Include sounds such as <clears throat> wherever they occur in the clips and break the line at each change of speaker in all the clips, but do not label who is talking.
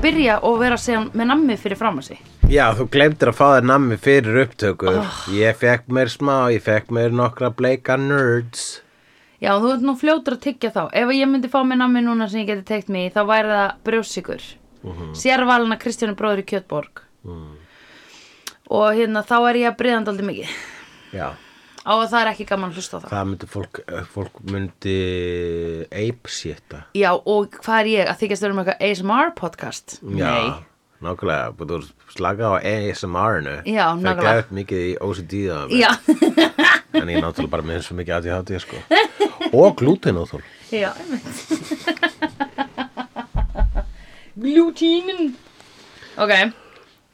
byrja og vera síðan með nammi fyrir fram að sig
Já, þú glemtir að fá þér nammi fyrir upptökur.
Ah.
Ég fekk mér smá, ég fekk mér nokkra bleika nerds.
Já, þú ert nú fljótur að tyggja þá Ef ég myndi fá mér nammi núna sem ég geti teikt mig í þá væri það brjósikur mm -hmm. Sérvalina Kristjánu bróður í Kjötborg og hérna þá er ég að breyðan aldrei mikið
Já,
á að það er ekki gaman að hlusta á það
það myndi fólk, eh, fólk myndi ape sétta.
Já, og hvað er ég? Að þykjast vera með eitthvað ASMR podcast?
Já, nákvæmlega, búið þú slaka á ASMR-inu.
Já, nákvæmlega.
Það gæði mikið í OCD það.
Nei. Já, <laughs>
En ég er náttúrulega bara með svo mikið ADHD, sko. Og glútin óþól.
já, einmitt. Glútínin. Ok,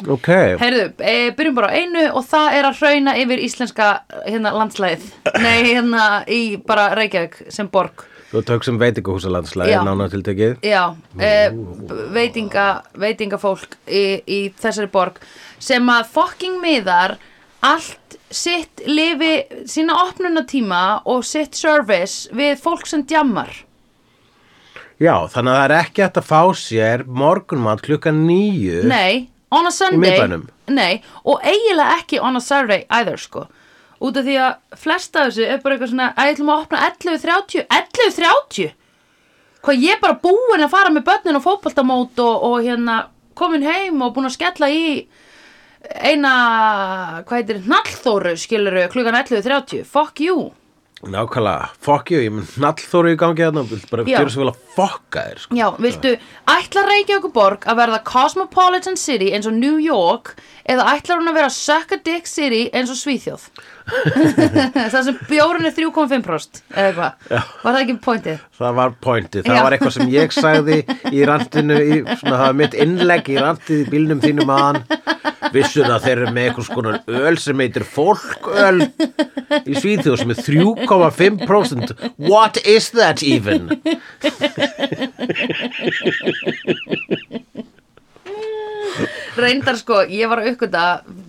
Ok,
heyrðu, e, byrjum bara á einu og það er að hrauna yfir íslenska hérna, landslæðið. Nei, hérna í bara Reykjavík sem borg.
þú tók sem veitingahúsalandslæði
Já.
nána tiltekið.
Já, e, b- veitinga, veitingafólk í, í þessari borg sem að fokking miðar allt sitt lifi sína opnunatíma og sitt service við fólk sem djammar.
Já, þannig að það er ekki hægt að fá sér morgunmat klukkan nýju.
Nei, on a Sunday
miðbænum?
Nei, og eiginlega ekki on a Saturday either sko Út af því að flesta af þessu er bara eitthvað svona að ég ætlum að opna 11.30 11.30? Hvað ég er bara búin að fara með börnin og fótboltamót og, og hérna komin heim og búin að skella í eina, hvað heitir, nallþóru skiluru klukkan 11.30 Fuck you
Nákvæmlega, fuck you, ég mun nallþóru í gangi þarna og vilt bara
Já.
gera svo vel að fucka þér, sko.
Já, viltu, ætlar Reykjavík borg að verða Cosmopolitan City eins og New York eða ætlar hún að vera Suck a Dick City eins og Svíþjóð? <laughs> það sem bjórun er 3,5% eða eitthvað, var það ekki pointið?
Það var pointið, það
Já.
var eitthvað sem ég sagði í randinu, í, svona það var mitt innlegg í randið í bílnum þínum aðan. Vissu það að þeir eru með eitthvað skonar öl sem heitir fólköl í Svíþjóð sem er 3,5%. What is that even?
Reyndar sko, ég var að aukvita,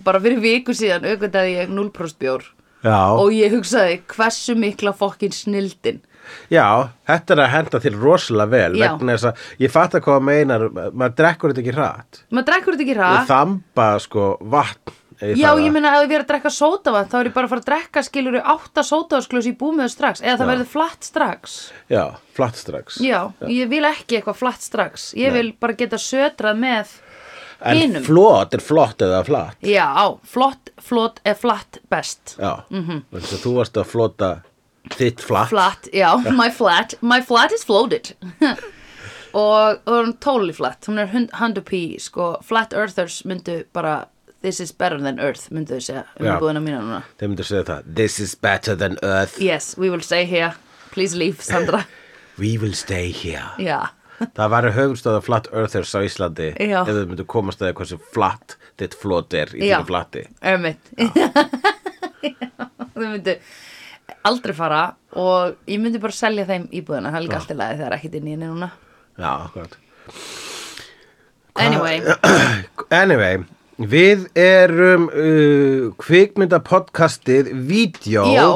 bara fyrir viku síðan aukvitaði ég 0% bjór
Já,
og ég hugsaði hversu mikla fokkin snildin.
já, þetta er að henda til rosalega vel
Já.
vegna þess að ég fatt að hvað þú meinar, ma- maður drekkur þetta ekki hratt.
Maður drekkur þetta ekki
Ég
rætt.
þamba sko vatn. ef
Já,
það-
ég meina ef ég er að drekka sótavatn þá er ég bara að fara að drekka skilur 8 sótavatsklaus í búmiðu strax eða það verður flatt strax.
Já, flatt strax.
Já, ég vil ekki eitthvað flatt strax Ég vil bara geta sötrað með
en
hinum.
flott er flott eða flatt.
Já, á, flott, flott er flatt best
Já, mm -hmm. þú varst að flota þitt
Mhm.
flatt.
Flatt, já, my flat My flat is floated <laughs> Og og hún er totally flat Hún er hund- 100p, sko Flat earthers myndu bara This is better than earth, myndu þau segja Um
Já.
búðina mína núna
Þeir myndir segja það, this is better than earth,
Yes, we will stay here Please leave, Sandra
we will stay here.
Já,
Það væri höfumstöða flat earthers á Íslandi
Já.
ef þau myndir komast að því hversu flatt þitt flot er í
Já.
þínu flatti.
ömmit Já, <laughs> þau myndu aldrei fara og ég myndi bara selja þeim íbúðina, það er líka allt í lagi þegar ekkert inn í henni núna.
Já, akkurat.
Anyway,
Anyway, við erum uh, kvikmyndapodcastið Vídeó
Já.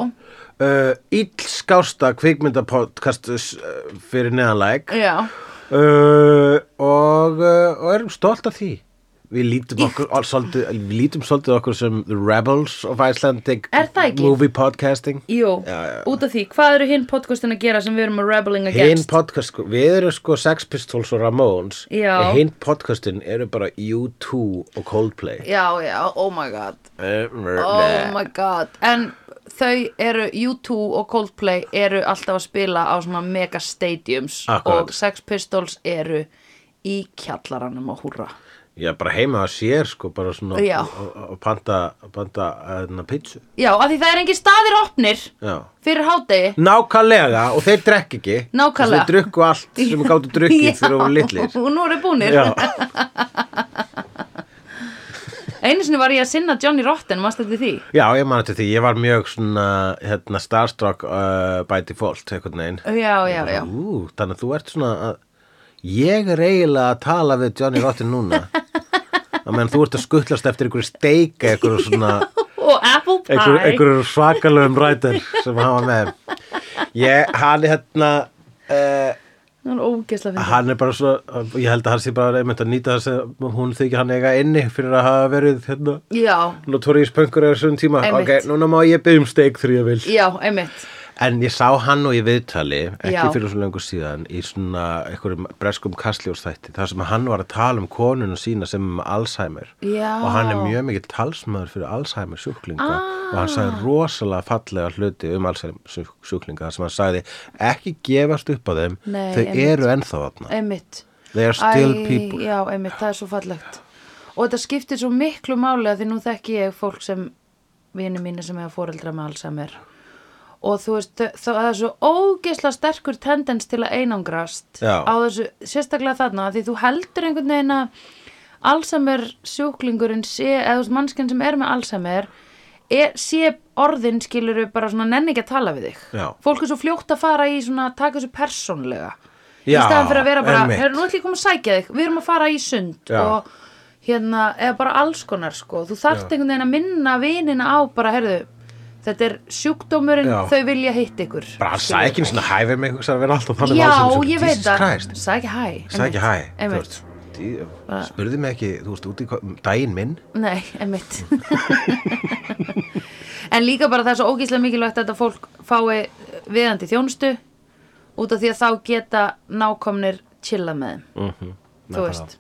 uh, Íllskásta kvikmyndapodcast uh, fyrir neðanlæk
já,
uh, og, uh, og erum stolt af því Við lítum, okkur, all, svolítið, við lítum svolítið okkur sem The Rebels of Icelandic
Er það ekki?
Movie Podcasting
jú,
Já, já.
út af því, hvað eru hinn podcastin að gera sem við erum að rebelling
Hinn
against?
podcast, sko, við erum sko Sex Pistols og Ramones
Já.
en Hinn podcastin eru bara U2 og Coldplay
já, já, oh my god,
Oh
oh my god, en þau eru, U2 og Coldplay eru alltaf að spila á svona mega stadiums
Akkurat.
og Sex Pistols eru í kjallaranum að húrra.
Já, bara heima að sér sko, bara svona
Já.
og- og og panta, panta hérna, pizzu.
Já, af því það er engin staðir opnir
Já.
fyrir hádegi.
Nákvæmlega, og þeir drekk ekki.
Nákvæmlega.
Þess Þeir drukku allt sem gáttu
<laughs>
drukkið þegar þú voru litlir.
Já, og nú eru búnir.
Já,
Einu sinni var ég að sinna Johnny Rotten, mannst þetta því?
já, ég man eftir því, ég var mjög svona, hérna, starstruck uh, by default, einhvern veginn.
Já, já, já.
Ú, þannig að þú ert svona að, ég er eiginlega að tala við Johnny Rotten
<laughs>
núna. Það meðan þú ert að skuttlast eftir einhverju steika, einhverju svona...
Og apple pie.
einhver, einhver svakalöfum rætur sem hann var með ég, hann hérna uh,
Hann er ógeðslega fyndið.
Hann er bara svo, ég held að hann sé bara einmitt að nýta það sem hún þykir hann eiga inni fyrir að hafa verið hérna
Já,
notorís pönkur eða svona tíma.
Einmitt.
Ok, núna má ég byggja um steik þegar ég vil.
já, einmitt.
En ég sá hann og ég viðtali, ekki
Já.
fyrir svo lengur síðan, í svona einhverjum breskum kastljósþætti, þar sem hann var að tala um konuna sína sem er með Alzheimer.
Já.
Og hann er mjög mikill talsmaður fyrir Alzheimer sjúklinga og hann
Ah.
sagði rosalega fallega hluti um Alzheimer sjúk- sjúklinga, þar sem hann sagði ekki gefast upp á þeim,
Nei,
þau
einmitt.
eru ennþá þarna.
Einmitt.
They are still
Æ,
people.
Já, einmitt, það er svo fallegt. Og þetta skiptir svo miklu máli að því nú þekki ég fólk sem, vini mínu sem hefa foreldra með Alzheimer. Og þú veist, þau- það er svo ógeðslega sterkur tendens til að einangrast
Já.
á þessu, sérstaklega þarna, af því þú heldur einhvern veginn að Alzheimer sjúklingurinn sé, eða þú veist, mannskinn sem er með Alzheimer, er, sé orðin skilur við bara svona nenni ekki að tala við þig.
Já.
Fólk er svo fljótt að fara í svona, taka þessu persónlega í
Já,
staðan fyrir að vera bara,
einmitt.
"Heyrðu, nú ætlum ég að koma að sækja þig við erum að fara í sund
Já.
og hérna, eða bara alls konar sko þú þarft einhvern veginn að minna vinina á bara, heyrðu, þetta er sjúkdómurinn
Já.
þau vilja hitt ykkur
Bara hann sagði ekki eins og hæfir mig, hugsaði að vera alltaf þannig með
já,
Alzheimer sjúklinga.
ég veit
Jesus
það,
Christ.
sækja hæ
Sækja hæ, þú
einmitt,
veist, dí- spurði mig ekki, þú veist, út í hvað- um daginn minn.
nei, einmitt en líka bara það er svo ógíslega mikilvægt að þetta fólk fái viðandi þjónustu út af því að þá geta nákomnir chilla með þeim
Mhm,
þú veist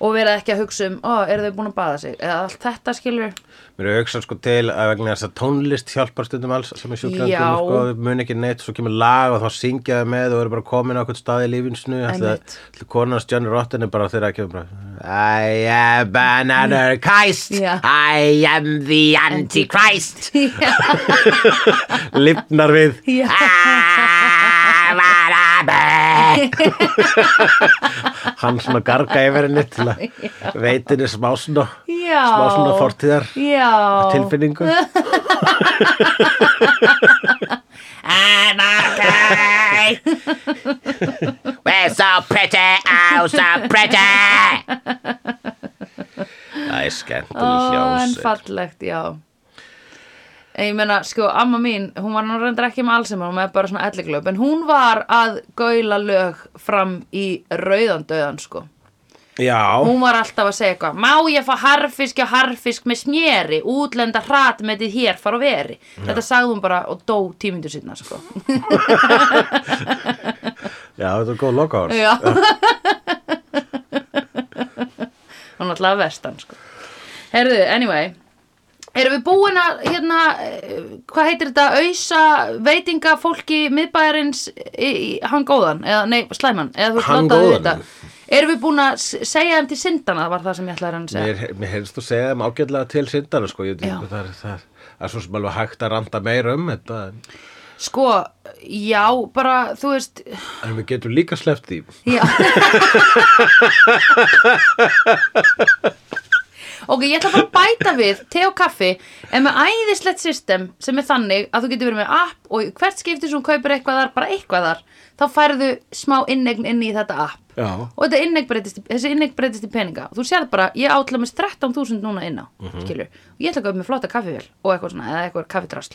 og vera ekki að hugsa um, ó, eru þau búin að baða sig eða allt þetta skilur
Mér er auksað sko til að vegna þess að tónlist hjálpar stundum alls sem er
Já.
sjúklandum, sko, þau mun ekki neitt, svo kemur lag og þá syngja þau með og eru bara komin á eitthvað stað í lífinsnu.
Einmitt.
Konans Johnny Rotten er bara þeirra að kemur bara, I am an anarchist,
Já.
I am the antichrist, lifnar við.
<laughs> Já.
Ah, var að be. Hann svona garga yfir henni til að veitinni smá svona,
já
smá svona fortíðar
já
tilfinningu.
<laughs>
Anarchy! We're so pretty, oh so pretty!
Það er skemmtileg
Ó, en
hljómsveit.
fallegt, já En ég meina, sko, amma mín, hún var nú reyndar ekki með Alzheimer, hún var bara svona elliglöp, en hún var að gaula lög fram í rauðan döðan, sko.
Já,
Hún var alltaf að segja eitthvað, má ég fá harfisk og harfisk með smjeri, útlenda hratmetið hér fara og veri. Þetta sagði hún bara og dó tímindur sinna, sko.
já, þetta er góð lokaður.
Já <laughs> Hún er alltaf vestan sko. Herðu, anyway Erum við búin að hérna, eh, hvað heitir þetta, ausa veitinga fólki miðbæjarins í, í hann góðan, eða nei, slæman eða þú veist,
Hann
láta þau
góðan.
vita. Erum við búin að s- segja þeim til syndana var það sem ég ætlaði að hann segja
Mér, mér heyrðist þú segja þeim ágætlega til sindana, sko. Ég,
Já.
það, er, það, er, það er svo sem alveg hægt að randa meira um þetta. en-
Sko, já, bara, þú veist
En við getum líka sleppt því.
Já Ok, ég ætla bara að bæta við te og kaffi en með æðislegt system sem er þannig að þú getur verið með app og í hvert skipti sem þú kaupir eitthvað þar, bara eitthvað þar þá færðu smá innegn inn í þetta app
Já.
og þetta innegn breytist, í- þessi innegn breytist í peninga þú sér bara, ég átla með 13.000 núna inn á mm
Mhm.
og ég ætla að kaupa með flotta kaffivél og eitthvað svona, eða eitthvað kaffidrasl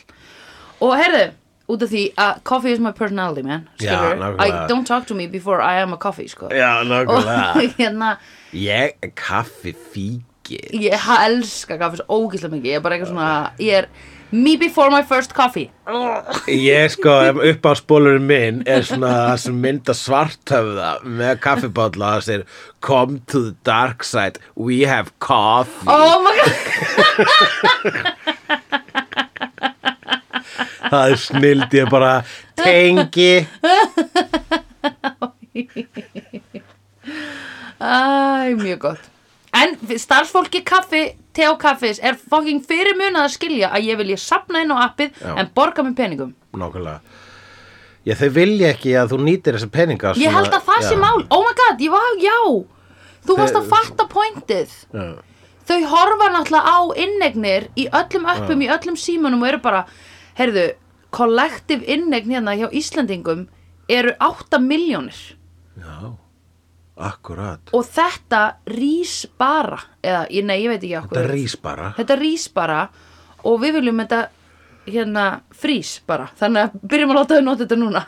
og heyrðu, út af því að coffee is my personality man,
Já,
skilur, I
nákvæmlega.
don't talk to me before I am a coffee, sko
Já,
og <laughs> hérna,
Ég er kaffi fíkir.
ég ha- elska kaffi svo ógíslega mikið, ég er bara eitthvað svona ég er, me before my first coffee
Ég sko, upp á spólurinn minn er svona það sem mynda svartöfða með kaffibálla það segir Come to the dark side, we have coffee.
oh my god,
Það er snild, ég bara tengi.
æ, mjög gott en starfsfólki kaffi, te og kaffis er fucking fyrirmunað að skilja að ég vilja sapna inn á appið
Já.
en borga með peningum
Nákvæmlega. Já, þau vilja ekki að þú nýtir þessa peninga.
ég held að það sé mál, oh my god, ég var, já þú varst að fatta pointið
Já.
þau horfa náttúrulega á innegnir í öllum öppum, í öllum símanum og eru bara, heyrðu, kollektiv innegn hérna hjá Íslandingum eru 8 miljónir
Já, akkurat.
og þetta rís bara eða, ég, nei, ég veit ekki okkur
Þetta rís bara.
þetta rís bara og við viljum þetta hérna frís bara, þannig að byrjum að láta þau nota þetta núna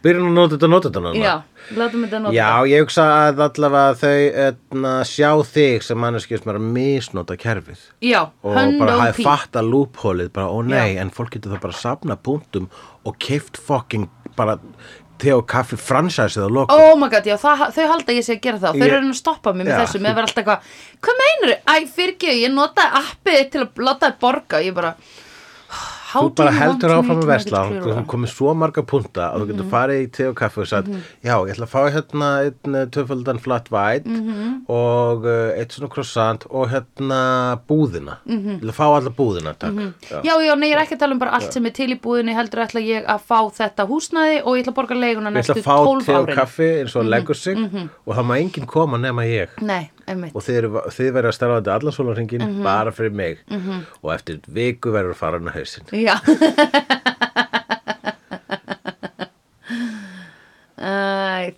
Byrjum að nota þetta, nota þetta núna.
já, látum þetta nota
Já, ég hugsa að allavega þau etna, sjá þig sem manneskjur sem er að misnota kerfið
já
og
hönd
bara
og
hafi
pí.
fatta lúphólið bara, ó nei,
Já.
en fólk getur það bara að safna punktum og keift fucking bara te og kaffi fransæsið að lokum
Oh my god, já, það, þau halda að ég sé að gera það Þau
Ég-
eru að reyna að stoppa mig með
Já.
þessu Mér verður alltaf eitthvað, hvað meinar þau? Æ, fyrirgeðu, ég notaði appið þitt til að láta þau borga Ég bara How
Þú
do you
bara
want
heldur
me
áfram
to
að
make
vesla
it
og
clearer?
þú komið svo marga punta að þú getur farið í te og kaffi og sagt já, ég ætla að fá hérna einn eh, tvöfaldan flat white og uh, eitt svona croissant og hérna búðina ég ætla að fá alla búðina, takk já.
Já, já, nei, ég er ekki að tala um bara allt sem er til í búðinni heldur ætla ég að fá þetta húsnæði og ég ætla að borga leiguna
Ég ætla
næstu
að
12 árin
fá te og kaffi eins og leggur sig og það má enginn koma nema ég
Nei, einmitt
og þið, eru- þið verður að starfa þetta allan sólarringin bara fyrir mig og eftir viku verður farin að hausinn
Já Æ,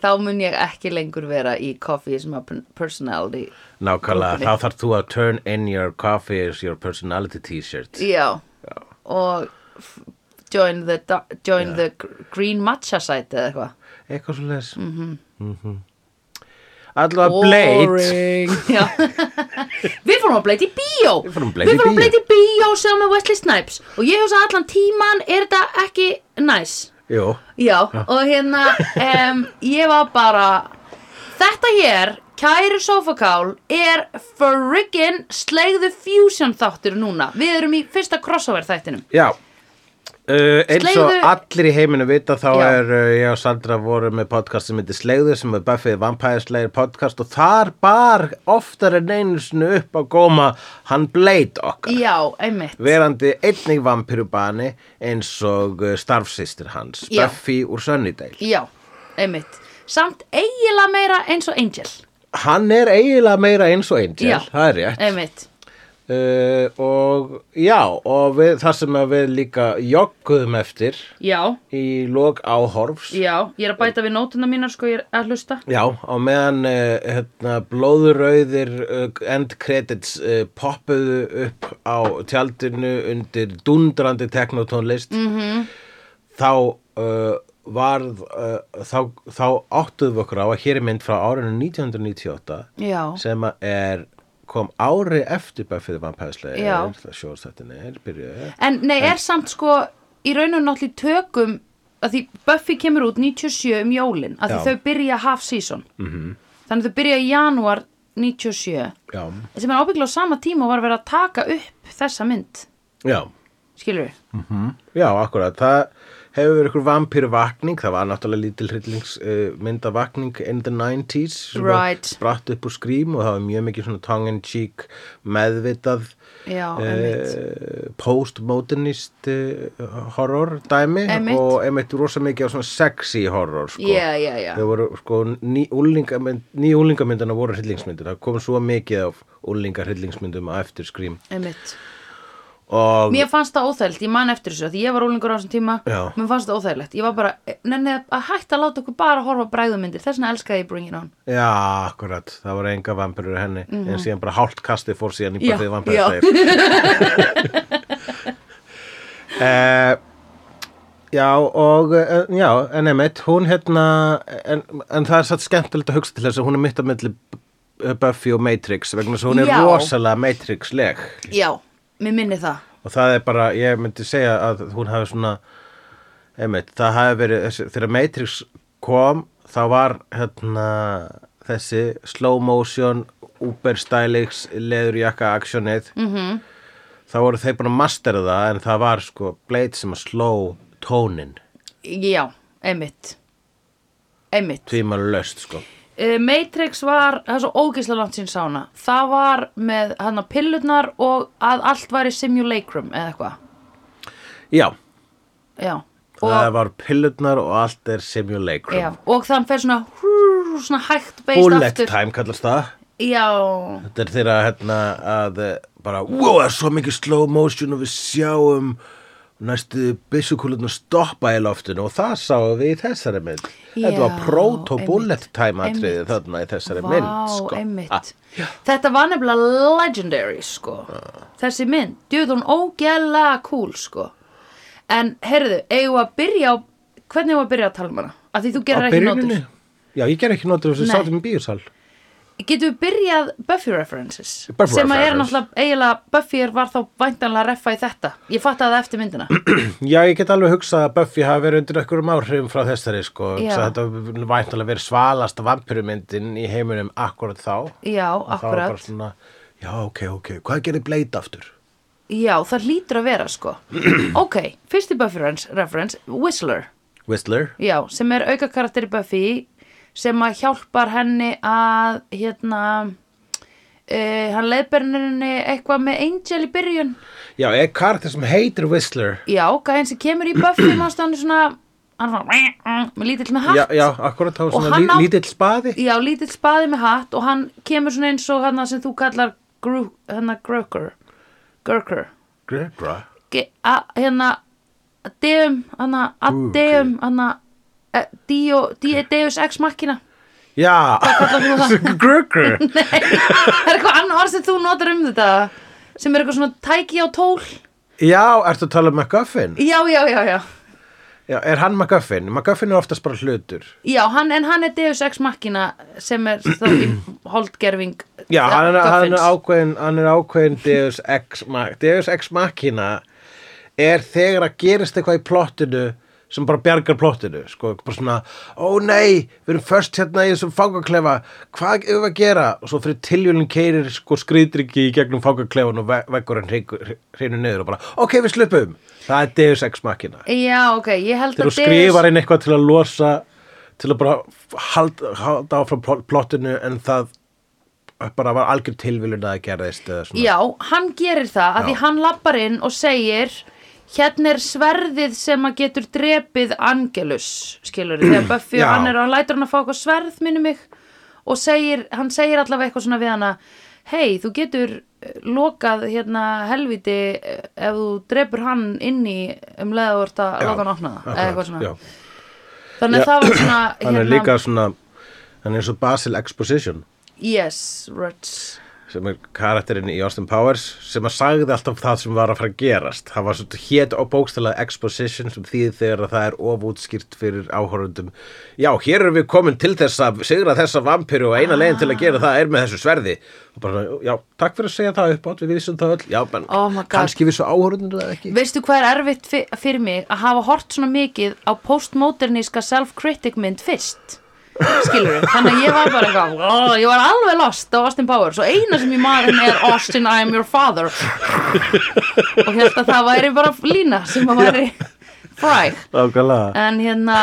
Þá mun ég ekki lengur vera í Coffee is my personality
Nákvæmlega,
Ókei.
þá þarf þú að turn in your coffee is your personality t-shirt
Já, og f- join the, da- join the gr- green matcha site eða eitthvað
eitthvað svo les mm
Mhm.
-hmm. Allavega Blade
Já. <laughs> Við fórum að bleita í bíó Við
fórum á Blade í
fórum að
bíó.
bleita í bíó sem með Wesley Snipes og ég hugsa allan tíman er þetta ekki næs
Jú,
Já, og hérna um, ég var bara þetta hér, kæri sofakál er friggin slegðu fusion þáttur núna við erum í fyrsta crossover þættinum
já Uh, eins og
Slegðu-
allir í heiminu vita þá
Já.
er uh, ég og Sandra voru með podcast sem heitir Slegðu sem er Buffy Vampire Slayer podcast og þar bar oftar en einu snu upp á góma hann Blade okkar
Já, einmitt
verandi einnig vampirubani eins og uh, starfsýstir hans
Já.
Buffy úr Sunnydale
Já, einmitt Samt eiginlega meira eins og Angel
hann er eiginlega meira eins og Angel
Já.
það er rétt
Einmitt
uh, og já og við, það sem að við líka jogguðum eftir
Já,
í lok áhorfs
já, ég er að bæta við nótuna mínar sko ég er að hlusta
Já, á meðan uh, hérna, blóðurauðir uh, end credits uh, poppuðu upp á tjaldinu undir dundrandi teknotónlist
Mhm.
-hmm. þá uh, varð uh, þá, þá áttuðum við okkur á að hér er mynd frá árinu 1998
Já.
sem að er kom ári eftir Buffy the Vampire
Já.
Slayer það sjóðstættin er, byrjuðu
En nei, er samt sko í raun og náttúrulega í tökum að því Buffy kemur út 97 um jólin að
Já. Mhm.
því þau byrja half season -hmm. þannig þau byrja í janúar 97
Já,
sem er ábyggla á sama tíma og var að vera að taka upp þessa mynd,
já
skilur við
Já, akkurat, það hefur verið ykkur vampíru vakning, það var náttúrulega lítil hryllings uh, myndavakning in the 90s sem var
Right.
spratt upp úr skrím og það var mjög mikið svona tongue in cheek meðvitað
Já,
uh, postmodernist uh, horror dæmi
Einmitt.
og einmitt rosa mikið á svona sexy horror sko.
Já, já, já.
Þau voru sko ný úlingamynd, ný úlingamyndina voru hryllingsmyndir, það kom svo mikið af úlingar hryllingsmyndum á eftir skrím
einmitt
og
Mér fannst það óþægilegt, ég man eftir þessu því ég var ólingur á þessum tíma,
Já.
mér fannst það óþægilegt ég var bara, nenni að hætta að láta okkur bara horfa bræðumindir, þess vegna elskaði ég Bring It On
Já, akkurat, það voru enga vampirur í henni en síðan bara hálft kastið fór síðan í
Mhm. Já,
bæðið
já.
<laughs> vampirur uh, Já, og uh, já, en emitt, hún hérna en, en það er satt skemmtilegt að hugsa til þess að hún er mitt að milli B- Buffy og Matrix vegna þess að hún er
Já.
rosalega Matrix-leg
Já, mér minni það
og það er bara, ég myndi segja að hún hafi svona einmitt, það hafi verið, þessi, þegar Matrix kom, þá var hérna, þessi slow motion, uber stylings leðurjakka aksjónið
Mhm.
-hmm. þá voru þeir búin að mastera það en það var sko Blade sem að sló tónin
Já, einmitt Einmitt
tímar löst sko
Eh, Matrix var, það er svo ógeðslega langt sín sána Það var með hann að pillurnar og að allt var í simulacrum eða eitthvað
Já,
Já
það
og,
var pillutnar og allt er simulacrum
já, og þann fer svona, hrrr, svona hægt beist
Bullet
aftur
time kallast það
Já,
Þetta er þeirra hérna að eh, bara, wow, það er svo mikið slow motion og við sjáum næstu byssukúlun að stoppa í loftinu og það sáum við í þessari mynd.
Já,
Þetta var proto-bullet
einmitt,
time atriði
einmitt.
þarna í þessari
Vá,
mynd, sko.
einmitt.
Ah,
Þetta var nefnilega legendary, sko.
Ah.
Þessi mynd, djúðun ógæðlega cool, sko. En, heyrðu, eigum við að byrja á hvernig var að byrja að tala um hana? Að því þú gerir
Á
ekki
byrjuninni?
nótur.
Já, ég ger ekki nótur þess að
Nei.
sátum í bíursal
Getum við byrjað Buffy references?
Buffy
sem að er
references.
náttúrulega, eiginlega Buffy er var þá væntanlega að reffa í þetta. Ég fatt að það eftir
<clears throat>
myndina.
Já, ég get alveg hugsað að Buffy hafi verið undir einhverjum áhrifum frá þessari sko
Já.
Svo þetta væntalega verið svalasta vampirumyndin í heiminum akkurat þá
Já,
Og þá var bara
akkurat.
svona, Já, ok, ok, hvað gerir Blade aftur?
Já, það hlýtur að vera sko.
<clears throat>
ok, fyrsti Buffy reference- reference, Whistler.
Whistler?
Já, sem er auka karakter í Buffy sem að hjálpar henni að hérna uh, hann leiðberðir henni eitthvað með Angel í byrjun.
Já, er karakter sem heitir Whistler
Já, gæðin sem kemur í Buffy mannstu hann er svona hann er svona <clears throat> með lítill með hatt
Já, já, akkurat þá svona
hann
lí,
á-
lítill spaði
Já, lítill spaði með hatt og hann kemur svona eins og hann sem þú kallar gru, hérna Gurker Gurker
Gregra
Ge- a- hérna Deum, hérna, hann Adeum hann e, Deus Ex Machina
Já, Gregra
Það er eitthvað annað orð sem þú notar um þetta sem er eitthvað svona tæki á tól
Já, ertu að tala um MacGuffin?
Já, já, já, já
Já, er hann MacGuffin? MacGuffin er oftast bara hlutur
Já, hann, en hann er Deus Ex Machina sem er þá í holdgerfing
Já, hann er, hann er
Guffins.
ákveðin, hann er ákveðin Deus Ex, Mach- Deus Ex Machina er þegar að gerist eitthvað í plottinu sem bara bjargar plottinu, sko, bara svona ó nei, við erum först hérna í þessum fangaklefa, hvað erum við að gera? og svo fyrir tiljulinn keirir sko skrýtryggi í gegnum fangaklefan og ve veggur hann hreinu niður og bara, ok, við slupum það er Deus Ex Machina
Já, ok, ég held
þegar
að
þú skrifar inn eitthvað til að losa til að bara halda, halda áfram pl- plottinu en það bara var algjör tilviljun að það gerðist eða svona.
Já, hann gerir það að því hann lappar inn og segir hérna er sverðið sem að getur drepið Angelus, skilur
<clears throat>
þegar Buffy
Já.
og hann er og hann lætur hann að fá eitthvað sverð minni mig og segir, hann segir allavega eitthvað svona við hana hei, þú getur eh, lokað hérna helviti eh, ef þú drepur hann inn í um leið og orta
Já,
loka hann opna það eða eitthvað
akkurat,
svona Hérna-
já.
þannig að það var svona
hann er líka svona hann er svo Basil Exposition
yes, right
sem er karakterinn í Austin Powers sem að sagði alltaf það sem var að fara að gerast hann var svona hétt og bókstælega exposition sem þýð þegar að það er ofútskýrt fyrir áhorundum já, hér erum við komin til þess að sigra þessa vampiru og eina leiðin til að gera það er með þessu sverði og bara, já, takk fyrir að segja það upp átt við vissum það öll, já, menn
Oh my God.
kannski vissu áhorundum það ekki
Veistu hvað er erfitt fyr- fyrir mig að hafa hort svona mikið á postmoderníska self-critic mynd fyrst? Skilur við? Þannig að ég var bara eitthvað, "Ó, ég var alveg lost á Austin Powers og eina sem ég maður er Austin, I am your father. og held að það væri bara lína sem að væri fræg.
Nákvæmlega.
En hérna,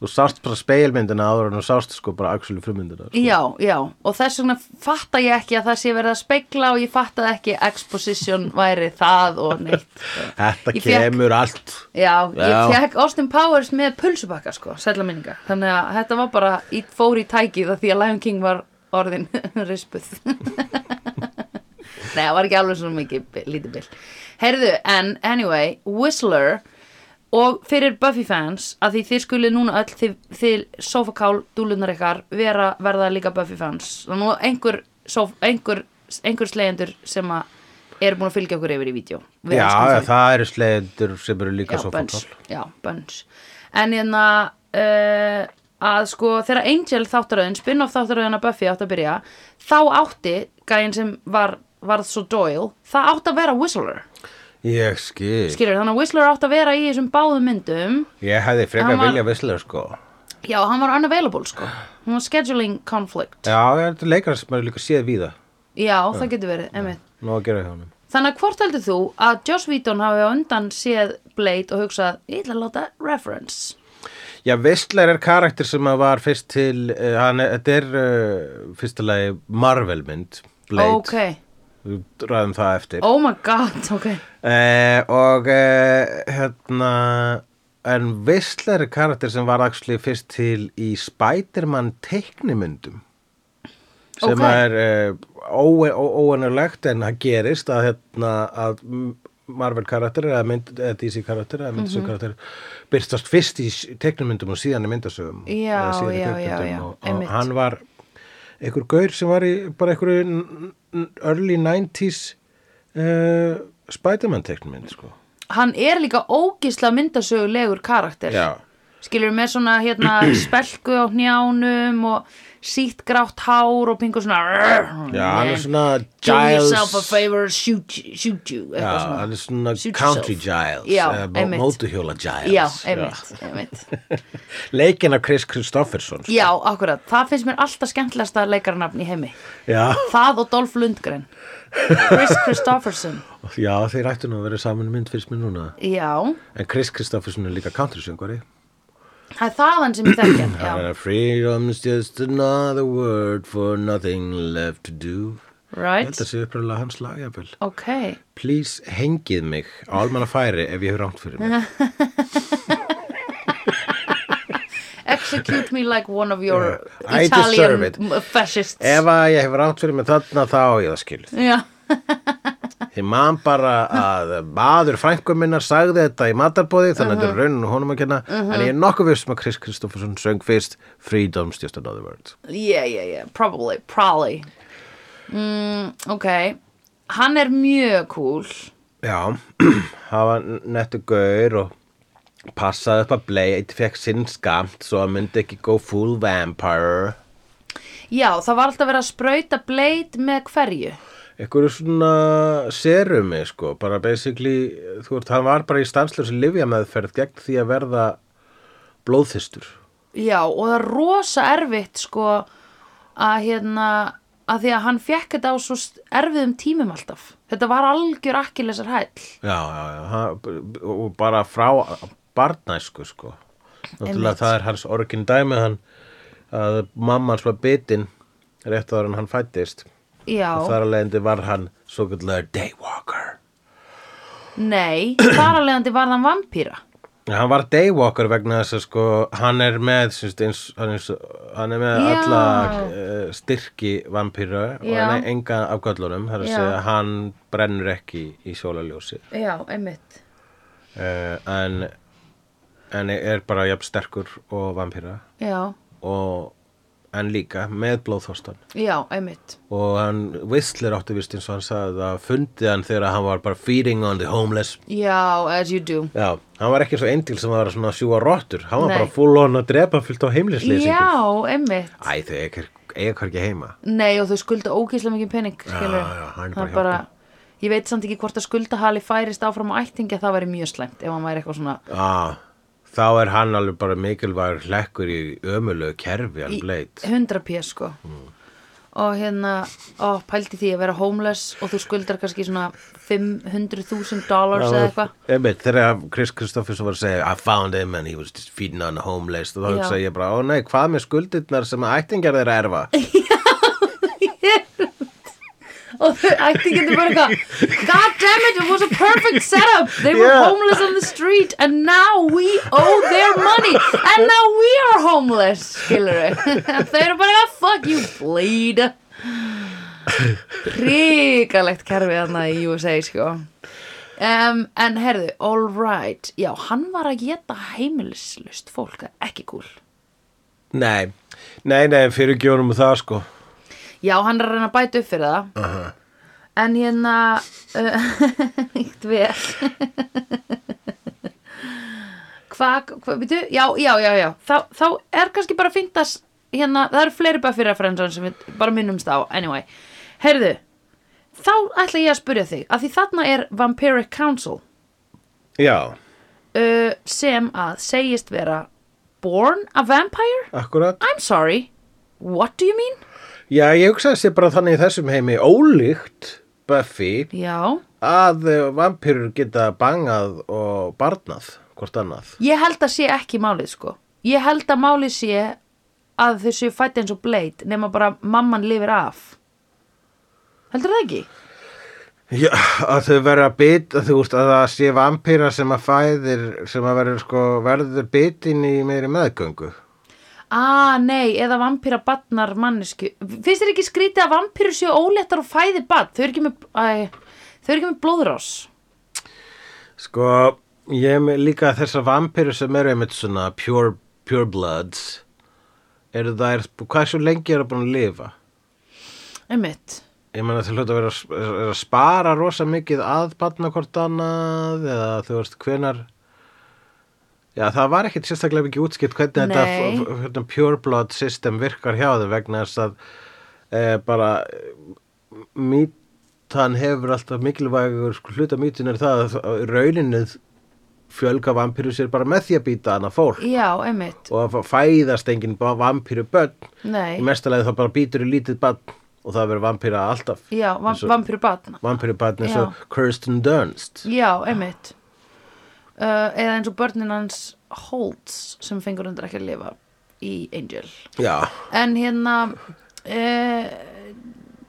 þú sást bara speilmyndina áður en þú sást sko bara axlu frumyndina sko.
já, já, og þess vegna fatta ég ekki að það sé verið að speikla og ég fattaði ekki exposition væri það og neitt.
þetta
Ég fékk-
kemur allt
Já,
Já.
ég fekk Austin Powers með pulsubakka sko, sætla minninga Þannig að þetta var bara, í, fór í tækið af því að Lion King var orðin <laughs> rispuð Nei, það var ekki alveg svona mikið bi- lítið bil Heyrðu, en anyway, Whistler og fyrir Buffy fans að því þið skulið núna öll þið, þið sofakál dúlunar ykkar vera, verða líka Buffy fans og nú einhver, sof, einhver, einhver slegjendur sem að eru búin að fylgja okkur yfir í vídeo Við
já,
elskum þau.
það eru slegjendur sem eru líka
Já,
svo
Bunch, já, Bunch en hérna uh, að sko þegar Angel þáttaröðin spin-off þáttaröðin að Buffy átt að byrja þá átti gæinn sem var varð svo Doyle, það átti að vera Whistler
Ég skil.
skilur, þannig að Whistler átti að vera í þessum báðum myndum
Ég hefði frekar
Hann var-
vilja visslega sko.
já, hann var unavailable sko hann var scheduling conflict já,
Já, þetta er leikar sem maður líka séð víða.
það getur verið, einmitt
Nú að gera hjá honum.
Þannig að hvort heldur þú að Joss Whedon hafi á undan séð Blade og hugsað, ég ætla að láta reference.
Já, Vistler er karakter sem að var fyrst til, uh, hann, er- þetta er uh, fyrstulegi Marvel-mynd, Blade,
Ok,
við ræðum það eftir.
oh my god, ok.
Eh, og eh, hérna en Whistler er karakter sem var actually fyrst til í Spiderman teiknimyndum sem
Ok.
er eh, óe- ó- óvenjulegt en það gerist að, hérna, að m- Marvel karakter eða, mynd, eða DC karakter eða myndasögu karakter byrstast fyrst í s- teiknimyndum og síðan í myndasögum
Já,
eða síðan í
já, já,
kvikmyndum
já,
og,
einmitt.
og hann var einhver gaur sem var í bara einhverju n- n- early 90s uh, Spiderman teiknumynd sko.
hann er líka ógisla myndasögulegur karakter skilur með svona
<clears throat>
hérna spelku á njánum og sítt grátt hár og pingu svona
Já, hann er svona
do yourself a
Giles
favor, shoot, you- shoot you
Já,
eitthvað svona
hann er svona
Suit
Country
yourself.
Giles
Já,
eða mó-
einmitt.
Mótuhjóla Giles
Já, einmitt, einmitt
Leikinn af Chris Kristofferson sko.
Já, akkurat, það finnst mér alltaf skemmtilegasta leikarnafn í heimi
Já,
Það og Dolph Lundgren
<laughs>
Chris Kristofferson
já, þeir ættu nú að vera saman í mynd fyrst mér núna
Já,
En Chris Kristofferson er líka country söngvari
það er þaðan sem ég þekki hann, Já,
Freedom's just another word for nothing left to do
right,
Þetta sé uppröðlega hans lagjafel
ok
Please hengið mig á almanna færi ef ég hefur rámt fyrir <laughs> mig
Execute me like one of your
Yeah, I deserve
Italian
it.
m- fascists
Ef að ég hefur rámt fyrir mig þarna þá á ég það skilð
Já,
Ég man bara að maður frængum minnar sagði þetta í matarbóði þannig að þetta er raunin og honum að kenna en ég er nokkuð viss um að Chris Kristofferson söng fyrst Freedom's just another word
yeah, yeah, yeah, probably, probably mm, Ok, hann er mjög cool
<clears throat> Já, það var nettu gaur og passaði upp að Blade fekk sinn skamt svo að myndi ekki go full vampire
Já, það var alltaf verið að sprauta blade með hverju
einhverju svona serumi sko, bara basically þú veist, hann var bara í stanslösi livjameðferð gegn því að verða blóðþystur
Já, og það er rosa erfitt sko að hérna að því að hann fekk þetta á svo st- erfiðum tímum alltaf. Þetta var algjör akkilesar hæll.
já, já, já, hann, og bara frá barnæsku sko náttúrulega
Einmitt.
það er hans orgin dæmi hann, að mamma hans var bitin rétt áður en hann fættist
Já,
og þar að leiðandi var hann svo kallar daywalker
nei, þar að leiðandi var hann vampýra.
En Hann var daywalker vegna þess að sko, hann er með, syns, eins, hann, er, svo- hann er með
Já.
alla uh, styrki vampíru og
Já.
hann er enga af göllunum, það er að
Já.
segja, hann brennur ekki í sólaljósi
Já, einmitt.
uh, en, en er bara jafn sterkur og vampíra
Já,
og en líka með blóðþóstan
já, einmitt.
og hann Whistler átti vist eins og hann sagði það fundið hann þegar hann var bara feeding on the homeless
Já, as you do.
Já, hann var ekki svo endil sem var svona að sjúga rottur, hann var
Nei.
bara full on að drepa fyllt á heimlislýsingum.
Já, einmitt.
Æ, þau eiga eiga hvergi heima.
Nei, og þau skulda ógeðslega mikið pening, skilur.
já, hann er bara að hjálpa.
ég veit samt ekki hvort að skuldahali færist áfram á ættingi að það væri mjög slæmt ef hann væri eitthvað svona
Já, þá er hann alveg bara mikilvægur hlekkur í ömulegu kerfi, hann bleit.
100 pés sko
Mm.
og hérna, ó, pældi því að vera homeless og þú skuldar kannski svona 500.000 dollars eða eitthvað
Einmitt, þegar Chris Kristofferson var að segja I found him and he was just feeding on the homeless og þá
Já.
hugsaði ég bara, ó nei, hvað með skuldirnar sem ættingjar þeirra erfa?
<laughs> og þau ætti getur bara eitthvað God damn it, it was a perfect setup they were
Yeah.
homeless on the street and now we owe their money and now we are homeless skilur <laughs> þau eru bara eitthvað fuck you bleed ríkalegt kerfi þarna í USA sko Um, en herðu, all right Já, hann var að geta heimilislust fólk, það er ekki cool
Nei, nei, nei, fyrir gjónum það sko.
Já, hann er að reyna að bæta upp fyrir það En hérna <laughs> uh, Íkt vel Hvað, hva, veitu, já, já, já, já Þá, þá er kannski bara fínt að s- hérna, það eru fleiri bara fyrir að frendran sem við bara minnumst á, anyway Heyrðu, þá ætla ég að spyrja þig að því þarna er Vampiric Council
Já,
uh, sem að segist vera Born a vampire?
akkurat.
I'm sorry What do you mean?
Já, ég hugsaði sér bara þannig í þessum heimi ólíkt Buffy
Já,
að eh, vampírur geta bangað og barnað hvort annað.
Ég held að sé ekki málið sko Ég held að málið sé að þau séu fætt eins og bleit nema bara mamman lifir af Heldur það ekki?
Já, að þau verða bit, að þú veist að það sé vampýra sem að fæðir, sem að verður sko, verður bitin í meiri meðgöngu.
Ah, nei, eða vampýra batnar mannesku Finnst þér ekki skrítið að vampýru séu óléttar og fæði bat? Þau eru ekki með, æ, þau eru ekki með blóðrás
Sko, ég er með líka þessar vampýrur sem eru einmitt svona pure, pure bloods, eru þær, hvað svo lengi eru búin að lifa?
Einmitt
Ég meina þau hlut að vera er að spara rosa mikið að batna hvort annað eða þú veist hvenar Já, það var ekkit sérstaklega mikið útskipt hvernig þetta
Nei.
f- f- hérna, pure blood system virkar hjá þau vegna þess að e, bara mýtan hefur alltaf mikilvægur sko, hluta mýtin er það að að rauninni fjölga vampíru sér bara með því að býta annað fólk
já, einmitt
og að fa- fæðast enginn bara vampíru börn
Nei,
í mestalagi þá bara býtur í lítið barn og það verður vampíra alltaf
já, vam,
Eins og-
vampíru batna
vampíru barn eins og
Já.
Kirsten Dunst
Já, einmitt uh, Eða eins og börnin hans Holtz sem fengur undir ekki að lifa í Angel
Já,
En hérna uh,